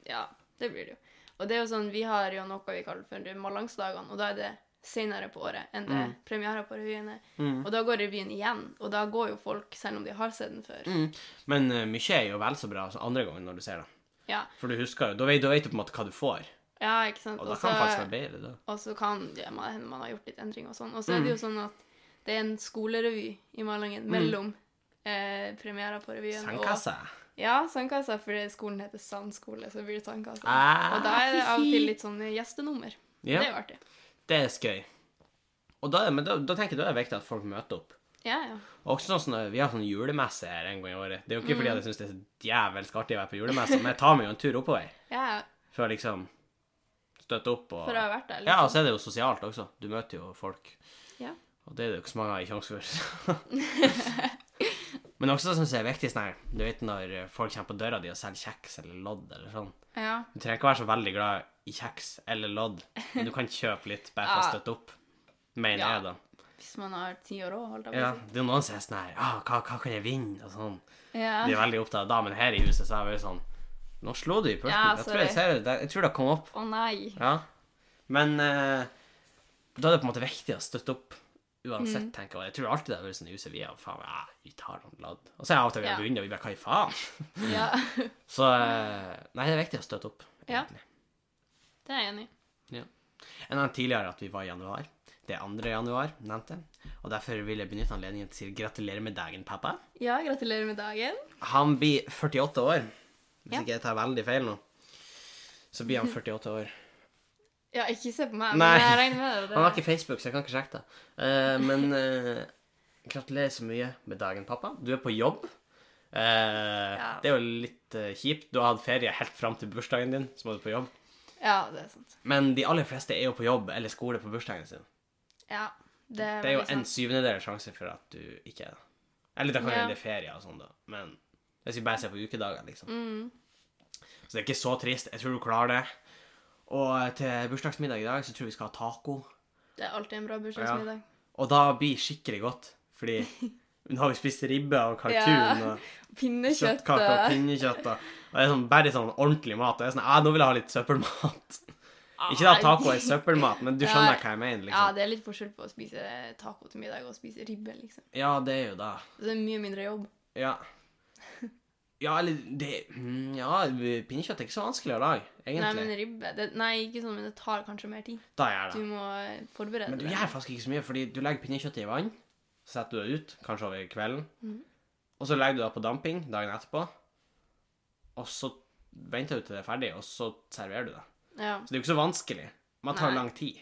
B: ja, det blir det jo. Og det er jo sånn, vi har jo noe vi kaller for malansdagene, og da er det senere på året enn det
A: Mm.
B: premiere på revyen er.
A: Mm.
B: Og da går revyen igjen, og da går jo folk, selv om de har sett den før.
A: Mm. Men eh, mye er jo vel så bra som andre gangen når du ser det.
B: Ja.
A: For du husker jo Da vet, da vet du på en måte hva du får.
B: ja, ikke sant?
A: Og da
B: Og
A: kan det
B: så-
A: faktisk være bedre, da.
B: Og så kan det man- hende man har gjort litt endringer og sånn. Og så er det
A: Mm.
B: jo sånn at det er en skolerevy i Malangen mellom eh, premierer på revyen og
A: Sandkasse.
B: Ja, sandkassa, fordi skolen heter Sandskole, så blir det sandkassa.
A: Ah,
B: og da er det av og til litt sånn gjestenummer.
A: Ja.
B: Det er jo artig.
A: Det er skøy. Og da, men da, da tenker jeg da er det viktig at folk møter opp.
B: Ja, ja.
A: Og også sånn, som når vi har sånn julemesse her en gang i året. Det er jo ikke fordi
B: Mm.
A: at jeg syns det er så djevelsk artig å være på julemesse, men jeg tar meg jo en tur oppover
B: ja ja,
A: for å liksom støtte opp og
B: for jeg har vært der.
A: Ja, altså. og
B: Liksom.
A: så er det jo sosialt også. Du møter jo folk.
B: Ja.
A: Og det er det jo ikke så mange av i sjanse for. Men også syns jeg er viktig sånn her Du vet når folk kommer på døra di og selger kjeks eller lodd eller sånn.
B: Ja.
A: Du trenger ikke være så veldig glad i kjeks eller lodd, men du kan kjøpe litt bare for å
B: Ja.
A: støtte opp. Mener
B: Ja.
A: jeg, da.
B: Hvis man har ti år òg, holdt jeg på
A: Ja,
B: å si.
A: det er jo noen som er sånn her ah, hva, 'Hva kan jeg vinne?' og sånn.
B: Ja.
A: De er veldig opptatt av det, men her i huset så er jeg jo sånn Nå slo du i pulten.
B: Ja,
A: jeg, tror jeg,
B: sorry.
A: ser det. jeg tror det kom opp.
B: Å nei.
A: Ja. Men eh, da er det på en måte viktig å støtte opp
B: Mm.
A: uansett, tenker jeg. Jeg tror alltid det har vært sånn i huset. Vi er jo faen ja, vi tar noen ladd. Og så er jeg av og til vi har
B: Ja.
A: begynt, og vi bare hva i faen?
B: Ja,
A: Så eh, Nei, det er viktig å støtte opp,
B: Ja.
A: egentlig.
B: det er jeg enig i.
A: En av tidligere at vi var i januar. Det er 2. januar, nevnte jeg. Og derfor vil jeg benytte anledningen til å si gratulerer med dagen, pappa.
B: Ja, gratulerer med dagen.
A: Han blir 48 år. Hvis
B: Ja.
A: ikke jeg tar veldig feil nå. Så blir han 48 år.
B: Ja, ikke se på meg,
A: Nei.
B: men jeg regner med det.
A: Han har ikke Facebook, så jeg kan ikke sjekke det. Eh, men eh, gratulerer så mye med dagen, pappa. Du er på jobb. Eh,
B: Ja.
A: Det er jo litt eh, kjipt. Du har hatt ferie helt fram til bursdagen din, så må du på jobb.
B: Ja, det er sant.
A: Men de aller fleste er jo på jobb eller skole på bursdagen sin.
B: Ja, det er,
A: Det er jo
B: veldig
A: en
B: sant.
A: syvendedel sjanse for at du ikke er det. Eller det kan jo
B: Ja.
A: gjelde ferie og sånn, da. Men hvis vi bare ser på ukedager, liksom.
B: Mm.
A: Så det er ikke så trist. Jeg tror du klarer det. Og til bursdagsmiddag i dag så tror jeg vi skal ha taco.
B: Det er alltid en bra bursdagsmiddag.
A: Og da blir skikkelig godt, fordi nå har vi spist ribbe og kalkun
B: Ja,
A: og
B: Pinnekjøtt
A: kjøttkaker og
B: og
A: pinnekjøtt. Og, og det er sånn, bare sånn ordentlig mat. Og jeg er sånn, «Ah, nå vil jeg ha litt søppelmat. Ikke da taco er søppelmat, men du skjønner
B: Ja.
A: hva jeg mener,
B: Ja,
A: liksom.
B: det er litt forskjell på å spise taco til middag og spise ribbe, liksom.
A: Ja, det er jo det.
B: Så det er mye mindre jobb.
A: Ja. Ja, eller det mm, Ja, pinnekjøtt er ikke så vanskelig å lage,
B: Nei,
A: egentlig.
B: men ribbe det, Nei, ikke sånn, men det tar kanskje mer tid.
A: Da gjør
B: Du
A: det.
B: må forberede
A: Men du
B: deg.
A: gjør faktisk ikke så mye, fordi du legger pinnekjøttet i vann, så setter du det ut, kanskje over kvelden,
B: Mhm.
A: og så legger du det på damping dagen etterpå, og så venter du til det er ferdig, og så serverer du det.
B: Ja.
A: Så det er jo ikke så vanskelig, men det tar
B: Nei.
A: lang tid.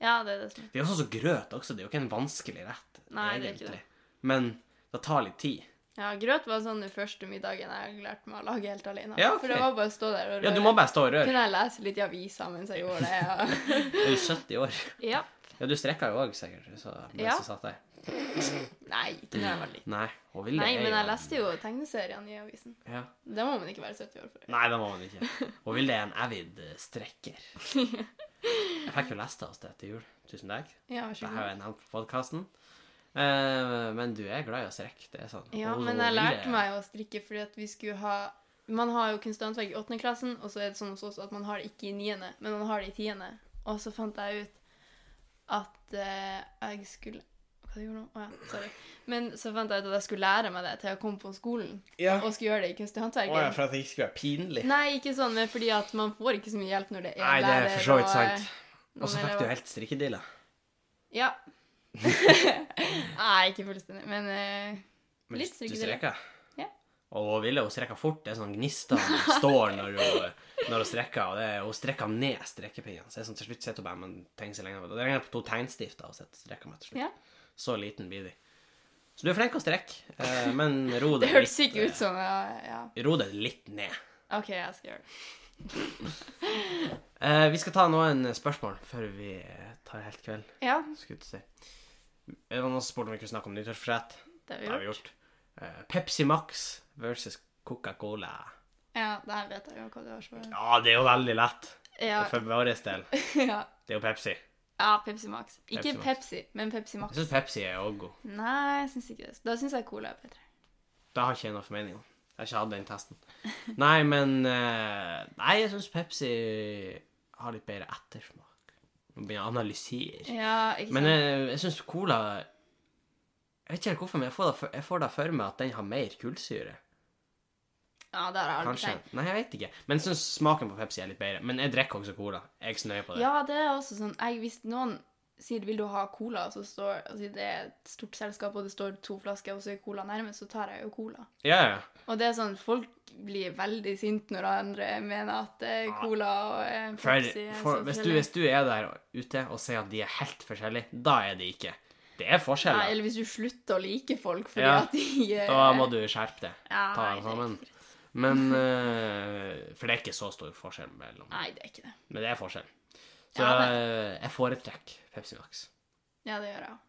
B: ja, det er det som er
A: Det er jo sånn som grøt også, det er jo ikke en vanskelig rett,
B: Nei, det er ikke det.
A: Men det tar litt tid.
B: Ja, grøt var sånn den første middagen jeg lærte meg å lage helt alene.
A: Ja, ok.
B: For det var bare å stå der og
A: Ja, du må bare stå og røre.
B: Kunne jeg lese litt i avisa mens jeg gjorde det?
A: Du er jo 70 år.
B: Ja. ja.
A: Ja, du strekka jo òg, sikkert. Så, mens
B: Ja.
A: du satt der.
B: Nei, ikke når jeg var liten.
A: Nei, og ville
B: Nei,
A: er
B: men
A: jo
B: jeg
A: en-
B: leste jo tegneseriene i avisen.
A: ja.
B: Det må man ikke være 70 år for.
A: Nei, det må man ikke. Og Vilde er en avid eh, strekker. Jeg fikk jo lest av oss det til jul. Tusen takk.
B: Ja, vær så
A: Det har
B: god.
A: jeg nevnt på podkasten. Eh, men du er glad i å strekke, det er sånn.
B: Ja,
A: Og- og
B: men jeg
A: Vilde-
B: lærte meg å strikke fordi at vi skulle ha Man har jo kunsthåndverk i åttende klassen, og så er det sånn hos oss at man har det ikke i niende, men man har det i tiende. Og så fant jeg ut at eh, jeg skulle Hva gjorde jeg nå? Å ja, sorry. Men så fant jeg ut at jeg skulle lære meg det til jeg kom på skolen
A: Ja.
B: og skulle gjøre det i kunstig håndverk.
A: Å ja, for at det ikke skulle være pinlig.
B: Nei, ikke sånn, men fordi at man får ikke så mye hjelp når det er
A: Nei, det er for så vidt sant.
B: noen
A: Og så fikk du
B: elever.
A: helt strikkedilla.
B: Ja. Nei, ikke fullstendig, men eh,
A: Men
B: Litt
A: du
B: strikkedilla.
A: strekker.
B: Ja.
A: Og Ville hun strekker fort. Det er sånn gnister som står når hun, når hun strekker. Og det er, hun strekker ned strekepinnen. Så det er sånn, til slutt sitter hun bare med en tegn så lenge. Og Det regner på to tegnstifter og sitter og strekker med til slutt.
B: Ja.
A: Så liten blir de. Så du er flink å strekke, eh, men ro
B: det
A: deg
B: høres
A: litt, eh,
B: ikke ut som ja, ja.
A: ro deg litt ned.
B: OK, jeg skal gjøre det.
A: Eh, vi skal ta noen spørsmål før vi eh, tar helt kveld.
B: Ja,
A: Skulle jeg til å si. Det var noen som spurte om vi kunne snakke om nyttårsforsett.
B: det har
A: Det
B: vi
A: har vi
B: gjort.
A: gjort. Eh, Pepsi Max versus Coca-Cola.
B: Ja, det her vet jeg jo hva du har svaret.
A: Ja, det er jo veldig lett.
B: Ja,
A: For vår del.
B: ja.
A: Det er jo Pepsi.
B: ja, Pepsi Max. Ikke
A: Pepsi Max.
B: Pepsi, men Pepsi
A: Jeg
B: Max.
A: syns Pepsi er òg god.
B: Nei, jeg syns ikke det. Da syns jeg Cola er bedre.
A: Det har ikke jeg noen formening om. Jeg har ikke hatt den testen. Nei, men eh, Nei, jeg syns Pepsi har litt bedre ettersmak. Nå begynner jeg å analysere.
B: Ja, ikke sant.
A: Men eh, jeg, jeg syns Cola Jeg vet ikke helt hvorfor, men jeg får, det for, jeg får det for meg at den har mer kullsyre.
B: ja, det har jeg aldri
A: Kanskje.
B: tenkt.
A: Nei, jeg vet ikke. Men jeg syns smaken på Pepsi er litt bedre. Men jeg drikker også Cola. Jeg er ikke så nøye på det.
B: Ja, det er også sånn jeg, Hvis noen sier 'vil du ha cola', og så står altså det er et stort selskap, og det står to flasker, og så er cola nærmest, så tar jeg jo cola.
A: Ja, ja.
B: Og det er sånn, folk blir veldig sinte når andre mener at eh, cola og eh,
A: For,
B: Pepsi er
A: Ah. for hvis,
B: så
A: du,
B: forskjellig.
A: hvis du er der ute og sier at de er helt forskjellige, da er de ikke. Det er
B: Nei,
A: forskjeller.
B: eller hvis du slutter å like folk fordi
A: Ja.
B: at de eh,
A: Da må du skjerpe deg.
B: ja,
A: ta
B: nei,
A: dem
B: det er
A: sammen.
B: ikke greit.
A: Men eh, For det er ikke så stor forskjell mellom
B: Nei, det er ikke det.
A: Men det er forskjell. Så
B: Ja,
A: eh, jeg foretrekker Pepsi Max.
B: Ja, det gjør jeg òg.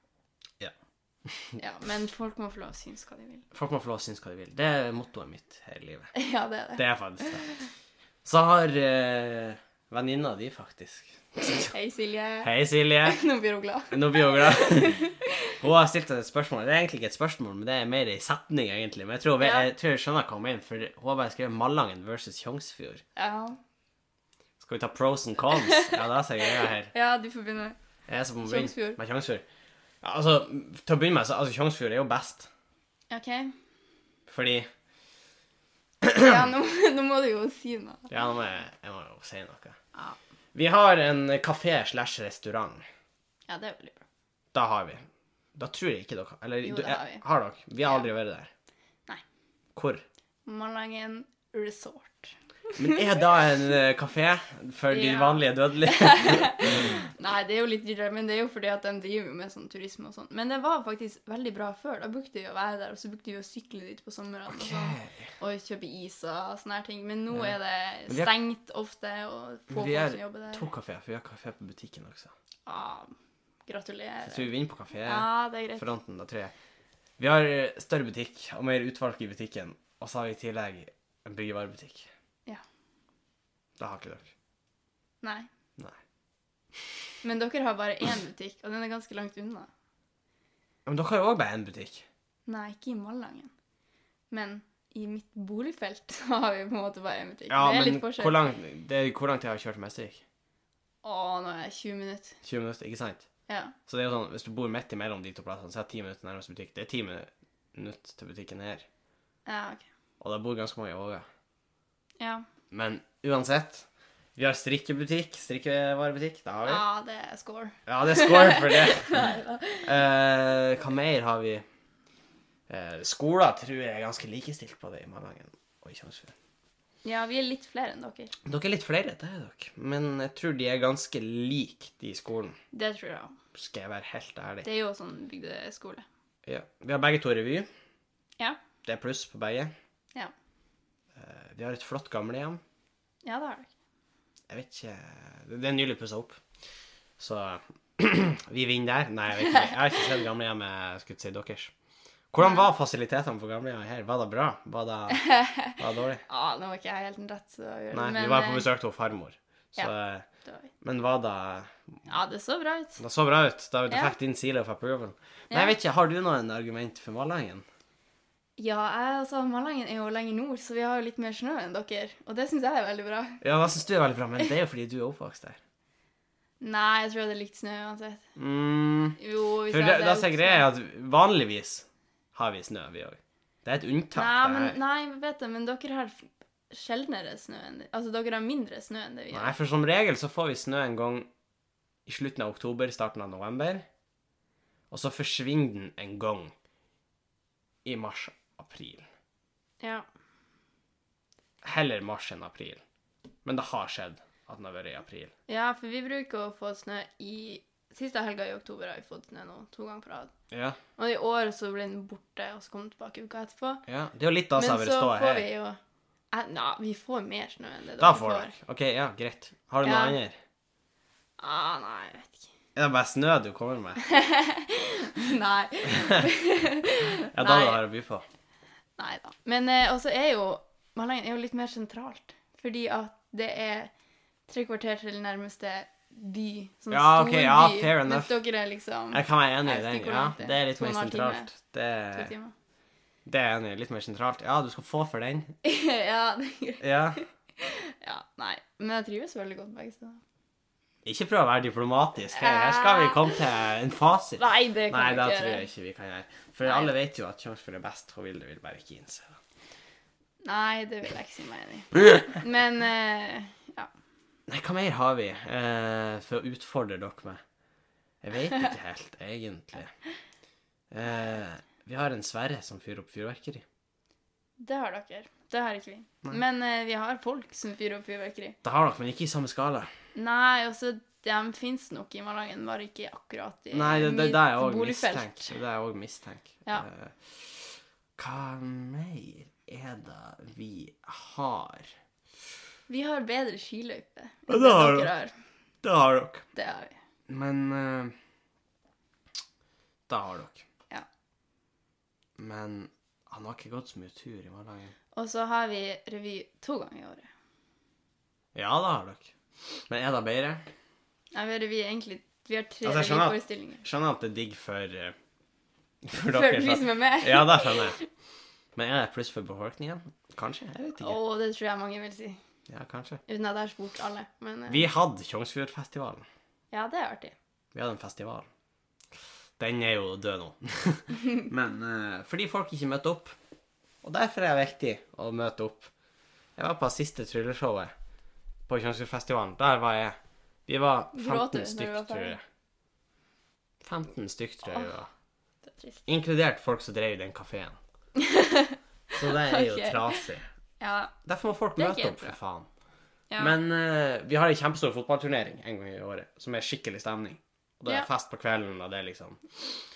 A: Ja.
B: ja, men folk må få lov å synes hva de vil.
A: Folk må få lov å synes hva de vil. Det er mottoet mitt her i livet.
B: Ja, det er det.
A: Det er faktisk det. Så har eh, venninna di, faktisk
B: Hei, Silje.
A: Hei, Silje.
B: Nå blir hun glad.
A: Nå blir hun glad. Hun har stilt et spørsmål. Det er egentlig ikke et spørsmål, men det er mer en setning, egentlig. Men jeg tror, vi-
B: Ja.
A: jeg, tror jeg skjønner hva hun mener, for hun har bare skrevet Malangen versus Tjongsfjord.
B: Ja.
A: Skal vi ta pros and cons? Ja, da ser jeg greia her.
B: ja, du får begynne.
A: Jeg er som må begynne
B: Tjongsfjord.
A: med Tjongsfjord. Ja, altså, til å begynne med, så altså, Tjongsfjord er jo best,
B: OK.
A: fordi
B: Ja, nå, nå må du jo si noe.
A: Ja, nå må jeg, jeg må jo si noe.
B: Ja.
A: Vi har en kafé slash restaurant.
B: Ja, det er veldig bra.
A: Da har vi. Da tror jeg ikke dere Eller
B: Jo,
A: du-
B: det har
A: jeg-
B: vi.
A: har dere? Vi har
B: Ja.
A: aldri vært der.
B: Nei.
A: Hvor?
B: Malangen Resort.
A: Men er da en eh, kafé for de
B: Ja.
A: vanlige dødelige?
B: Nei, det er jo litt dyrere, men det er jo fordi at de driver jo med sånn turisme og sånn. Men det var faktisk veldig bra før. Da brukte vi å være der, og så brukte vi å sykle dit på sommeren og sånn, og kjøpe is og sånne her ting. Men nå
A: Ja.
B: er det
A: vi er-
B: stengt ofte, og få
A: Vi
B: folk
A: er
B: som jobber der.
A: to kafeer, for vi har kafé på butikken også.
B: Ah,
A: Jeg tror
B: gratulerer.
A: vi vinner på kaféfronten,
B: Ja, det er greit.
A: da tror jeg. Vi har eh, større butikk og mer utvalg i butikken, og så har vi i tillegg en byggevarebutikk.
B: Ja.
A: Det har ikke dere.
B: Nei.
A: Nei.
B: Men dere har bare én butikk, og den er ganske langt unna.
A: Men dere har jo òg bare én butikk.
B: Nei, ikke i Malangen. Men i mitt boligfelt så har vi på en måte bare én butikk.
A: Ja,
B: det er
A: men
B: litt forskjell.
A: hvor langt, det er, hvor langt jeg har kjørt til Mestervik?
B: Å, nå er jeg 20 minutter.
A: 20 minutter, ikke sant?
B: Ja.
A: Så det er jo sånn, hvis du bor midt imellom de to plassene, så er det 10 minutter nærmest butikk. Det er 10 minutter til butikken her.
B: ja, ok.
A: Og det bor ganske mange i Våga.
B: Ja.
A: Men uansett Vi har strikkebutikk, strikkevarebutikk. Det har vi.
B: Ja, det er score.
A: Ja, det er score for det.
B: Neida.
A: Eh, hva mer har vi? Eh, skoler tror jeg er ganske likestilt på det i Malangen og i Tjongsfjord.
B: Ja, vi er litt flere enn dere.
A: Dere er litt flere, det er dere. Men jeg tror de er ganske like, de i skolen.
B: Det tror jeg òg.
A: Skal jeg være helt ærlig.
B: Det er jo sånn bygdeskole.
A: Ja. Vi har begge to revy.
B: Ja.
A: Det er pluss på begge.
B: Ja.
A: Eh, vi har et flott gamlehjem.
B: Ja, det har dere.
A: Jeg vet ikke Det er nylig pussa opp. Så vi vinner der. Nei, jeg vet ikke. Jeg har ikke sett gamlehjemmet, skulle jeg si deres. Hvordan var fasilitetene på gamlehjemmet her? Var det bra? Var det, var det dårlig?
B: Ah, nå var ikke jeg helt den rett til å gjøre
A: Nei,
B: men,
A: vi var
B: eh,
A: på besøk til farmor. Så, eh,
B: det var-
A: Men var det
B: Ja, det så bra ut.
A: Det så bra ut. Da du
B: Ja.
A: fikk din seal of approval. Nei,
B: Ja.
A: jeg vet ikke, har du noen argument for Malangen?
B: Ja, jeg, altså, Malangen er jo lenger nord, så vi har jo litt mer snø enn dere. Og det syns jeg er veldig bra.
A: Ja, hva syns du er veldig bra? Men det er jo fordi du er oppvokst der.
B: Nei, jeg tror jeg hadde likt snø uansett.
A: Mm.
B: Jo, hvis
A: For
B: jeg
A: det,
B: hadde
A: da sier
B: gjort
A: greia at vanligvis har vi snø, vi òg. Det er et unntak,
B: Nei,
A: det
B: men,
A: her.
B: nei, vet du, men dere har f- sjeldnere snø enn det. Altså, dere har mindre snø enn det vi
A: Nei,
B: har.
A: for som regel så får vi snø en gang i slutten av oktober, starten av november. Og så forsvinner den en gang i mars-april.
B: Ja.
A: Heller mars enn april. Men det har skjedd at den har vært i april.
B: ja, for vi bruker å få snø i Siste helga i oktober har vi fått snø nå, to ganger på rad.
A: Ja,
B: Og i år så ble den borte, og så kom den tilbake uka etterpå.
A: ja. Det er jo litt da som har
B: Men
A: vært
B: så
A: ståa
B: får
A: her.
B: vi jo Eh, Nei, vi får mer snø enn det
A: Da får dere. OK, ja, greit. Har du noe
B: Ja.
A: annet?
B: Ah, nei, jeg vet ikke.
A: Er det bare snø du kommer med?
B: Nei.
A: Ja, da
B: Nei.
A: har du her å by på.
B: Nei da. Men eh, også er jo Malangen er jo litt mer sentralt. Fordi at det er tre kvarter til nærmeste by. Sånn
A: Ja,
B: stor
A: ok, ja,
B: by.
A: fair
B: mens
A: enough.
B: dere er liksom
A: Jeg kan være enig
B: Jeg
A: i
B: vet
A: den.
B: ikke hvor
A: Ja,
B: langt det er.
A: det er litt
B: To og
A: mer
B: en halv time.
A: sentralt. Det,
B: to timer.
A: det er jeg enig i. Litt mer sentralt. Ja, du skal få for den.
B: ja, det er greit.
A: Ja.
B: Ja, nei. Men jeg trives veldig godt begge steder.
A: Ikke prøv å være diplomatisk. Her, her skal vi komme til en fasit.
B: Nei, det kan
A: Nei,
B: vi
A: det
B: ikke
A: tror
B: gjøre.
A: jeg ikke vi kan gjøre. For
B: Nei.
A: alle vet jo at Kjørsfjord er best. Hun Vilde vil bare ikke innse det.
B: Nei, det vil jeg ikke si meg enig i. Men eh, ja.
A: Nei, hva mer har vi eh, for å utfordre dere med? Jeg vet ikke helt, egentlig. Eh, vi har en Sverre som fyrer opp fyrverkeri.
B: Det har dere. Det har ikke vi. Men eh, vi har folk som fyrer opp fyrverkeri.
A: Det har dere, men ikke i samme skala.
B: Nei, altså, de fins nok i Malangen, bare ikke akkurat i
A: Nei, det, det,
B: mitt
A: det er jeg òg
B: boligfelt.
A: mistenkt. Det er jeg også mistenkt.
B: Ja.
A: Eh, Hva mer er det vi har?
B: Vi har bedre skiløype.
A: Ja, det har
B: dere
A: dere.
B: har.
A: Det har dere.
B: Det har vi.
A: Men eh, Det har dere.
B: Ja.
A: Men han har ikke gått så mye tur i hverdagen.
B: Og så har vi revy to ganger i året.
A: Ja, det har dere. Men er det bedre?
B: Nei, vi har revy egentlig Vi har tre
A: Altså, jeg skjønner at-
B: revyforestillinger.
A: Skjønner at det er digg for eh, For
B: Før
A: dere.
B: vi
A: sånn.
B: som er med.
A: Ja, det skjønner jeg. Men er det et pluss for befolkningen? Kanskje? Jeg vet
B: Å,
A: ikke.
B: det tror jeg mange vil si.
A: Ja, kanskje.
B: Uten at jeg har spurt alle. Men eh,
A: Vi hadde Tjongsfjordfestivalen.
B: ja, det er artig.
A: Vi hadde en festival. Den er jo død nå. Men eh, fordi folk ikke møtte opp. Og derfor er det viktig å møte opp. Jeg var på siste trylleshowet på Kjønnsfestivalen. Der var jeg. Vi var 15
B: Gråt du når du
A: stykk,
B: var ferdig?
A: tror jeg. 15 stykk, tror jeg vi var.
B: Det er trist.
A: Inkludert folk som drev den kafeen. Så det er jo
B: Ok.
A: trasig.
B: Ja.
A: Derfor må folk
B: Det er ikke
A: møte
B: helt
A: opp,
B: bra.
A: for faen.
B: ja.
A: Men eh, vi har en kjempestor fotballturnering en gang i året, som er skikkelig stemning. Og det er
B: Ja.
A: fest på kvelden, og det er liksom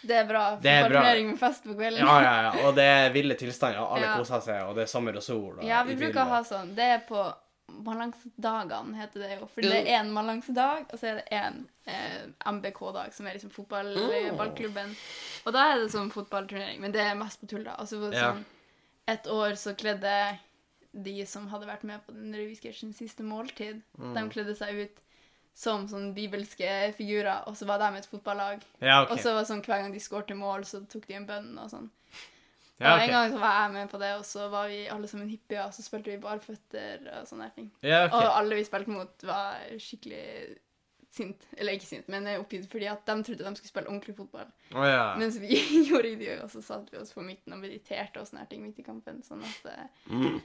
B: det er bra.
A: Det er bra.
B: Partnering med fest på kvelden.
A: Ja, ja, ja. Og det er ville tilstander, og alle
B: Ja.
A: koser seg, og det er sommer og sol. Og
B: Ja, vi
A: idyll,
B: bruker å ha
A: og-
B: sånn. Det er på balansedagene, heter det jo. For det er én balansedag, og så er det én eh, MBK-dag, som er liksom fotballklubben. Og da er det sånn fotballturnering, men det er mest på tull, da. Altså, for
A: Ja.
B: sånn, et år så kledde de som hadde vært med på den revysketsjen Siste måltid, de kledde seg ut som sånn bibelske figurer, og så var de et fotballag.
A: Ja, ok.
B: Og så var det sånn hver gang de skårte mål, så tok de en bønn og sånn.
A: ja,
B: Og
A: ok.
B: en gang så var jeg med på det, og så var vi alle sammen hippier, og så spilte vi barføtter og sånne her ting.
A: Ja, ok.
B: Og alle vi spilte mot, var skikkelig sint. Eller ikke sint, men eh, oppgitt, fordi at de trodde de skulle spille ordentlig fotball.
A: Å, ja.
B: Mens vi gjorde ikke det, og så satt vi oss på midten og mediterte og sånne her ting midt i kampen. Sånn at eh,
A: Mm.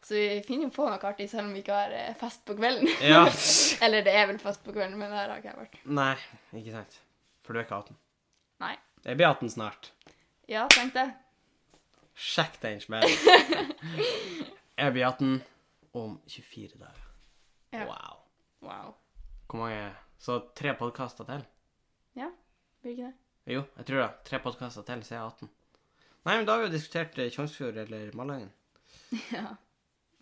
B: Så vi finner jo på noe artig, selv om vi ikke har eh, fest på kvelden.
A: ja.
B: eller det er vel fest på kvelden, men der har ikke jeg vært.
A: Nei, ikke sant. For du er ikke 18.
B: Nei.
A: Jeg blir 18 snart.
B: Ja, tenkte jeg.
A: Sjekk den smellen. Jeg blir 18 om 24 dager.
B: Ja.
A: Wow.
B: Wow.
A: Hvor mange Så tre podkaster til?
B: Ja, blir ikke det?
A: Jo, jeg tror det. Tre podkaster til, så er jeg 18. Nei, men da har vi jo diskutert eh, Tjongsfjord eller Malangen.
B: Ja.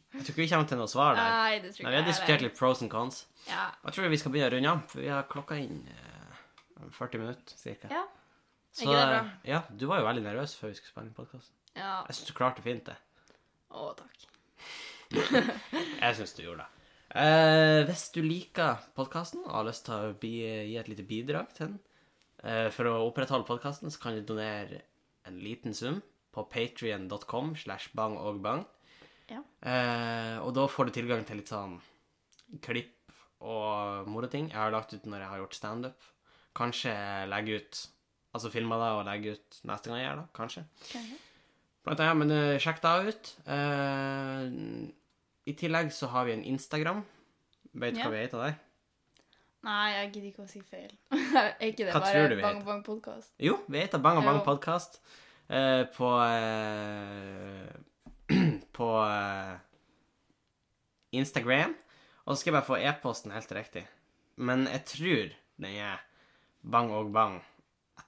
A: Jeg tror ikke vi kommer til noe svar der.
B: Nei,
A: Nei,
B: det tror ikke
A: vi har
B: jeg heller.
A: diskutert litt pros and cons.
B: Ja.
A: Jeg tror vi skal begynne å runde av, for vi har klokka inn eh, 40 minutter cirka.
B: Ja.
A: Så, eh,
B: ikke det bra?
A: Ja, du var jo veldig nervøs før vi skulle spille inn podkasten.
B: Ja.
A: Jeg syns du klarte fint det.
B: Å, takk.
A: Jeg syns du gjorde det. Eh, hvis du liker podkasten og har lyst til å bi, gi et lite bidrag til den eh, for å opprettholde podkasten, så kan du donere en liten sum på patrion.com slash bang og bang.
B: Ja.
A: Eh, og da får du tilgang til litt sånn klipp og moroting. Jeg har lagt ut når jeg har gjort standup. Kanskje legge ut Altså filme det og legge ut neste gang jeg gjør det, kanskje. Blant annet, men eh, sjekk da ut. Eh, I tillegg så har vi en Instagram. Vet du
B: Ja.
A: hva vi heter der?
B: Nei, jeg gidder ikke å si feil. er ikke det
A: Hva
B: bare
A: tror du vi
B: Bang
A: heter?
B: Bang Podcast?
A: Jo, vi heter Bang og Bang
B: Jo.
A: Podcast eh, på eh, på eh, Instagram. Og så skal jeg bare få e-posten helt riktig. Men jeg tror den er bangogbang at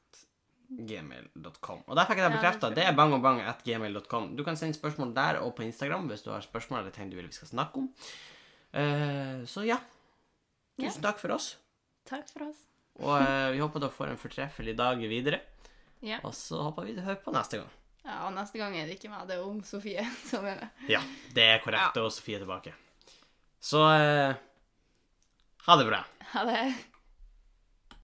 A: gmail.com. Og der fikk jeg det
B: Ja, det
A: bekrefta.
B: tror jeg.
A: Det er bangogbang at gmail.com. Du kan sende spørsmål der og på Instagram hvis du har spørsmål eller ting du vil vi skal snakke om. Eh, så ja.
B: Ja.
A: Tusen takk for oss.
B: Takk for oss.
A: Og eh, vi håper dere får en fortreffelig dag videre.
B: Ja.
A: Og så håper vi du hører på neste gang.
B: ja, og neste gang er det ikke meg, det er ung Sofie som er med.
A: Ja, det er korrekt. Og Sofie er tilbake. Så eh, ha det bra.
B: Ha det.